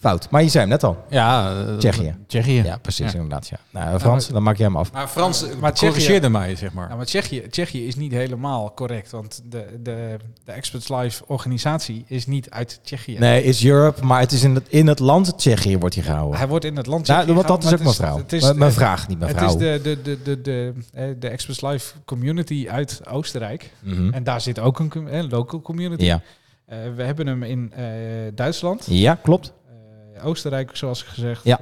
[SPEAKER 6] Fout. Maar je zei hem net al.
[SPEAKER 5] Ja, eh,
[SPEAKER 6] Tsjechië.
[SPEAKER 5] Tsjechië.
[SPEAKER 6] Ja, precies,
[SPEAKER 5] Ja.
[SPEAKER 6] inderdaad. Ja. Nou, Frans, dan maak jij hem af.
[SPEAKER 5] Maar Frans
[SPEAKER 7] Maar
[SPEAKER 5] maar
[SPEAKER 7] Tsjechië-
[SPEAKER 5] corrigeerde mij, zeg maar.
[SPEAKER 7] Ja, maar Tsjechië, Tsjechië is niet helemaal correct, want de, de, de Experts Live organisatie is niet uit Tsjechië.
[SPEAKER 6] Nee, is Europe, maar het is in het, in het land Tsjechië wordt hij gehouden.
[SPEAKER 7] Hij wordt in het land
[SPEAKER 6] Nou,
[SPEAKER 7] Tsjechië
[SPEAKER 6] want dat is ook
[SPEAKER 7] gehouden,
[SPEAKER 6] mijn vrouw.
[SPEAKER 7] maar het is-
[SPEAKER 6] Mijn-
[SPEAKER 7] het
[SPEAKER 6] Mijn
[SPEAKER 7] is-
[SPEAKER 6] vraag, niet mijn
[SPEAKER 7] Het is
[SPEAKER 6] vrouw.
[SPEAKER 7] de, de, de, de, de, eh, de Experts Live community uit Oostenrijk.
[SPEAKER 6] Mhm.
[SPEAKER 7] En daar zit ook een, com- eh, local community.
[SPEAKER 6] Ja.
[SPEAKER 7] Eh, we hebben hem in eh, Duitsland,
[SPEAKER 6] ja, klopt.
[SPEAKER 7] eh, Oostenrijk zoals gezegd,
[SPEAKER 6] Ja.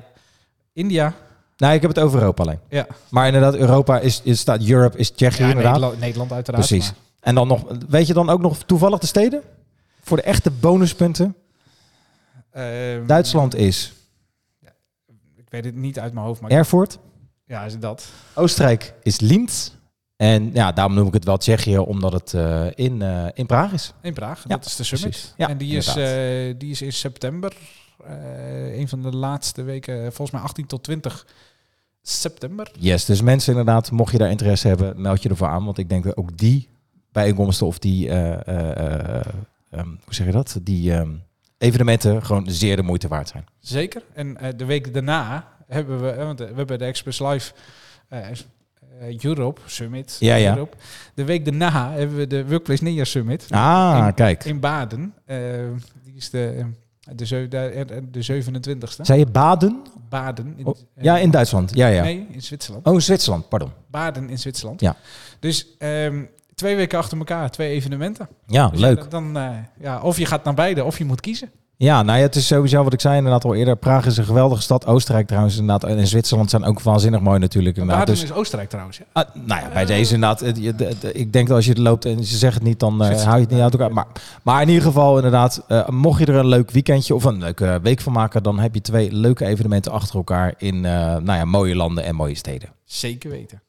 [SPEAKER 7] India,
[SPEAKER 6] Nou, ik heb het over Europa alleen.
[SPEAKER 7] Ja.
[SPEAKER 6] Maar inderdaad, Europa is, is staat Europe, is Tsjechië
[SPEAKER 7] ja,
[SPEAKER 6] inderdaad.
[SPEAKER 7] Nederland, Nederland uiteraard.
[SPEAKER 6] Precies.
[SPEAKER 7] maar-
[SPEAKER 6] En dan nog, weet je dan ook nog toevallig de steden? Voor de echte bonuspunten.
[SPEAKER 7] Ehm,
[SPEAKER 6] Duitsland is
[SPEAKER 7] Ik weet het niet uit mijn hoofd, maar
[SPEAKER 6] Erfurt.
[SPEAKER 7] ja, is het dat.
[SPEAKER 6] Oostenrijk is Linz. En ja, daarom noem ik het wel Tsjechië, omdat het eh, in, eh, in Praag is.
[SPEAKER 7] In Praag,
[SPEAKER 6] Ja,
[SPEAKER 7] dat is de summit.
[SPEAKER 6] precies. Ja,
[SPEAKER 7] en die is,
[SPEAKER 6] inderdaad.
[SPEAKER 7] eh, die is in september, eh, een van de laatste weken, eh, volgens mij 18 tot 20 september.
[SPEAKER 6] Yes, dus mensen inderdaad, mocht je daar interesse hebben, meld je ervoor aan. Want ik denk dat ook die bijeenkomsten of die, eh, eh, eh, ehm, hoe zeg je dat? Die ehm, evenementen gewoon zeer de moeite waard zijn.
[SPEAKER 7] Zeker. En eh, de week daarna hebben we, eh, want eh, we hebben de Express Live eh, eh, Europe Summit.
[SPEAKER 6] Ja, ja.
[SPEAKER 7] Europe. De week daarna hebben we de Workplace Ninja Summit
[SPEAKER 6] Ah,
[SPEAKER 7] In-
[SPEAKER 6] kijk.
[SPEAKER 7] in Baden. Eh, die is de, de, zeu- de, de 27e.
[SPEAKER 6] Zei je Baden?
[SPEAKER 7] Baden. in- eh,
[SPEAKER 6] Oh, Ja, in Duitsland. Ja, ja.
[SPEAKER 7] Nee, in Zwitserland.
[SPEAKER 6] Oh, in Zwitserland, pardon.
[SPEAKER 7] Baden in Zwitserland.
[SPEAKER 6] Ja.
[SPEAKER 7] Dus ehm, twee weken achter elkaar, twee evenementen.
[SPEAKER 6] Ja,
[SPEAKER 7] Dus ja,
[SPEAKER 6] leuk.
[SPEAKER 7] Dan, eh, ja, of je gaat naar beide, of je moet kiezen.
[SPEAKER 6] Ja, nou ja, het is sowieso wat ik zei inderdaad al eerder. Praag is een geweldige stad. Oostenrijk trouwens inderdaad. En Zwitserland zijn ook waanzinnig mooi natuurlijk. Inderdaad.
[SPEAKER 7] Baden
[SPEAKER 6] Dus,
[SPEAKER 7] is Oostenrijk trouwens. Ja.
[SPEAKER 6] ah, nou ja, bij deze inderdaad. het- je- de- de- ik denk dat als je het loopt en ze zeggen het niet, dan eh, hou je het niet uit elkaar. Maar, maar in ieder geval inderdaad, eh, mocht je er een leuk weekendje of een leuke week van maken, dan heb je twee leuke evenementen achter elkaar in eh, nou ja, mooie landen en mooie steden.
[SPEAKER 7] Zeker weten.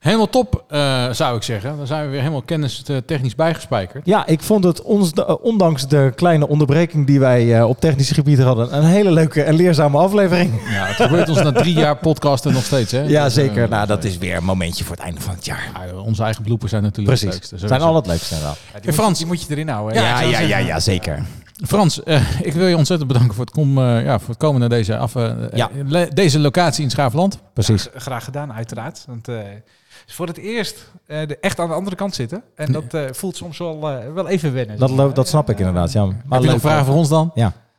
[SPEAKER 5] Helemaal top, eh, zou ik zeggen. Dan zijn we weer helemaal kennis eh, technisch bijgespijkerd.
[SPEAKER 6] Ja, ik vond het ons, eh, ondanks de kleine onderbreking die wij eh, op technisch gebied hadden, een hele leuke en leerzame aflevering.
[SPEAKER 5] Ja, het gebeurt ons na drie jaar podcasten nog steeds, hè?
[SPEAKER 6] Ja,
[SPEAKER 5] Dus, eh,
[SPEAKER 6] zeker. Nou, dat is weer een momentje voor het einde van het jaar.
[SPEAKER 5] ja, onze eigen bloepers zijn natuurlijk
[SPEAKER 6] Precies.
[SPEAKER 5] het leukste.
[SPEAKER 6] Het zijn al het leukste wel.
[SPEAKER 7] Ja,
[SPEAKER 5] En Frans.
[SPEAKER 7] Moet, die moet je erin houden. hè?
[SPEAKER 6] Ja, ja, ja, ja, zeker.
[SPEAKER 5] Frans, eh, ik wil je ontzettend bedanken voor het, kom, eh, ja, voor het komen naar deze, af, eh,
[SPEAKER 6] Ja.
[SPEAKER 5] le- deze locatie in Schaafland.
[SPEAKER 6] Precies.
[SPEAKER 7] Graag gedaan, uiteraard. Want eh, het is voor het eerst eh, de- echt aan de andere kant zitten. En dat eh, voelt soms wel, eh, wel even wennen. eh,
[SPEAKER 6] Dat, lo- dat snap ik inderdaad, ja. Maar
[SPEAKER 5] Heb je nog
[SPEAKER 6] leuk.
[SPEAKER 5] vragen voor ons dan?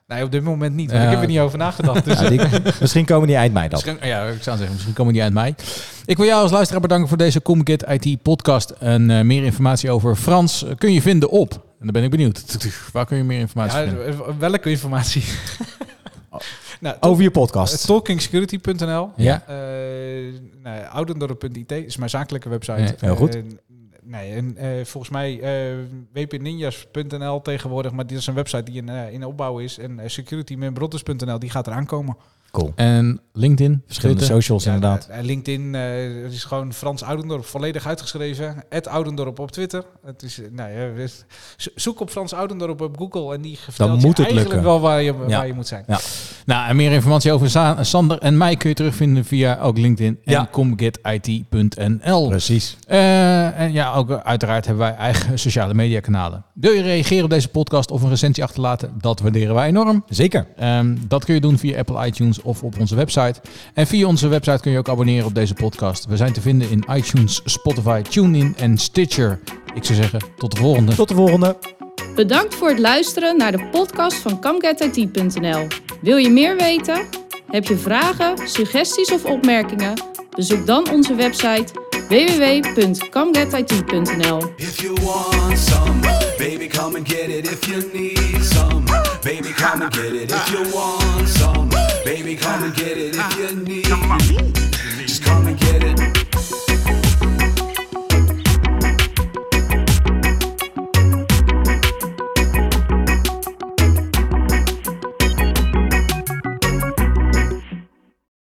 [SPEAKER 7] Nee, op dit moment niet. Want
[SPEAKER 5] Ja.
[SPEAKER 7] ik heb er niet over nagedacht. Dus
[SPEAKER 6] Ja, die- misschien komen die eind mei dan.
[SPEAKER 5] Misschien, ja, ik zou zeggen, misschien komen die uit mij. Ik wil jou als luisteraar bedanken voor deze Comkit IT podcast. En eh, meer informatie over Frans eh, kun je vinden op. En dan ben ik benieuwd. Waar kun je meer informatie
[SPEAKER 7] ja, eh,
[SPEAKER 5] vinden?
[SPEAKER 7] welke informatie? nou, to-
[SPEAKER 6] Over je podcast.
[SPEAKER 7] Talkingsecurity.nl
[SPEAKER 5] Ja.
[SPEAKER 7] Eh, nou, nee, Oudendorp.it is mijn zakelijke website.
[SPEAKER 5] Ja,
[SPEAKER 6] heel goed.
[SPEAKER 7] Eh, nee, en, eh, volgens mij eh, wpninjas.nl tegenwoordig, maar dit is een website die in, eh, in opbouw is. En eh, securitymanbrotters.nl, die gaat eraan komen.
[SPEAKER 6] Cool.
[SPEAKER 5] En LinkedIn,
[SPEAKER 6] Verschillende
[SPEAKER 5] Twitter.
[SPEAKER 6] socials inderdaad.
[SPEAKER 7] Ja, eh, LinkedIn eh, het is gewoon Frans Oudendorp, volledig uitgeschreven. Het Oudendorp op Twitter. Het is, eh, nou ja, dus zo- zoek op Frans Oudendorp op Google en die vertelt
[SPEAKER 6] moet
[SPEAKER 7] je
[SPEAKER 6] het
[SPEAKER 7] eigenlijk
[SPEAKER 6] lukken.
[SPEAKER 7] wel waar je, waar
[SPEAKER 6] Ja.
[SPEAKER 7] je moet zijn.
[SPEAKER 5] Nou, en meer informatie over Za- Sander en mij kun je terugvinden via ook LinkedIn en
[SPEAKER 6] Ja.
[SPEAKER 5] comgetit.nl.
[SPEAKER 6] Precies.
[SPEAKER 5] Eh, en ja, ook eh, uiteraard hebben wij eigen sociale media kanalen. Wil je reageren op deze podcast of een recensie achterlaten? Dat waarderen wij enorm.
[SPEAKER 6] Zeker.
[SPEAKER 5] Ehm, dat kun je doen via Apple iTunes of op onze website. En via onze website kun je ook abonneren op deze podcast. We zijn te vinden in iTunes, Spotify, TuneIn en Stitcher. Ik zou zeggen, tot de volgende.
[SPEAKER 6] Tot de volgende.
[SPEAKER 4] Bedankt voor het luisteren naar de podcast van CamGetIT.nl. Wil je meer weten? Heb je vragen, suggesties of opmerkingen? Bezoek dan onze website www.camgetit.nl.
[SPEAKER 3] If you want some, baby, come and get it. If you need some, baby, come and get it. If you want some, baby, come and get it. If you need, just come and get it.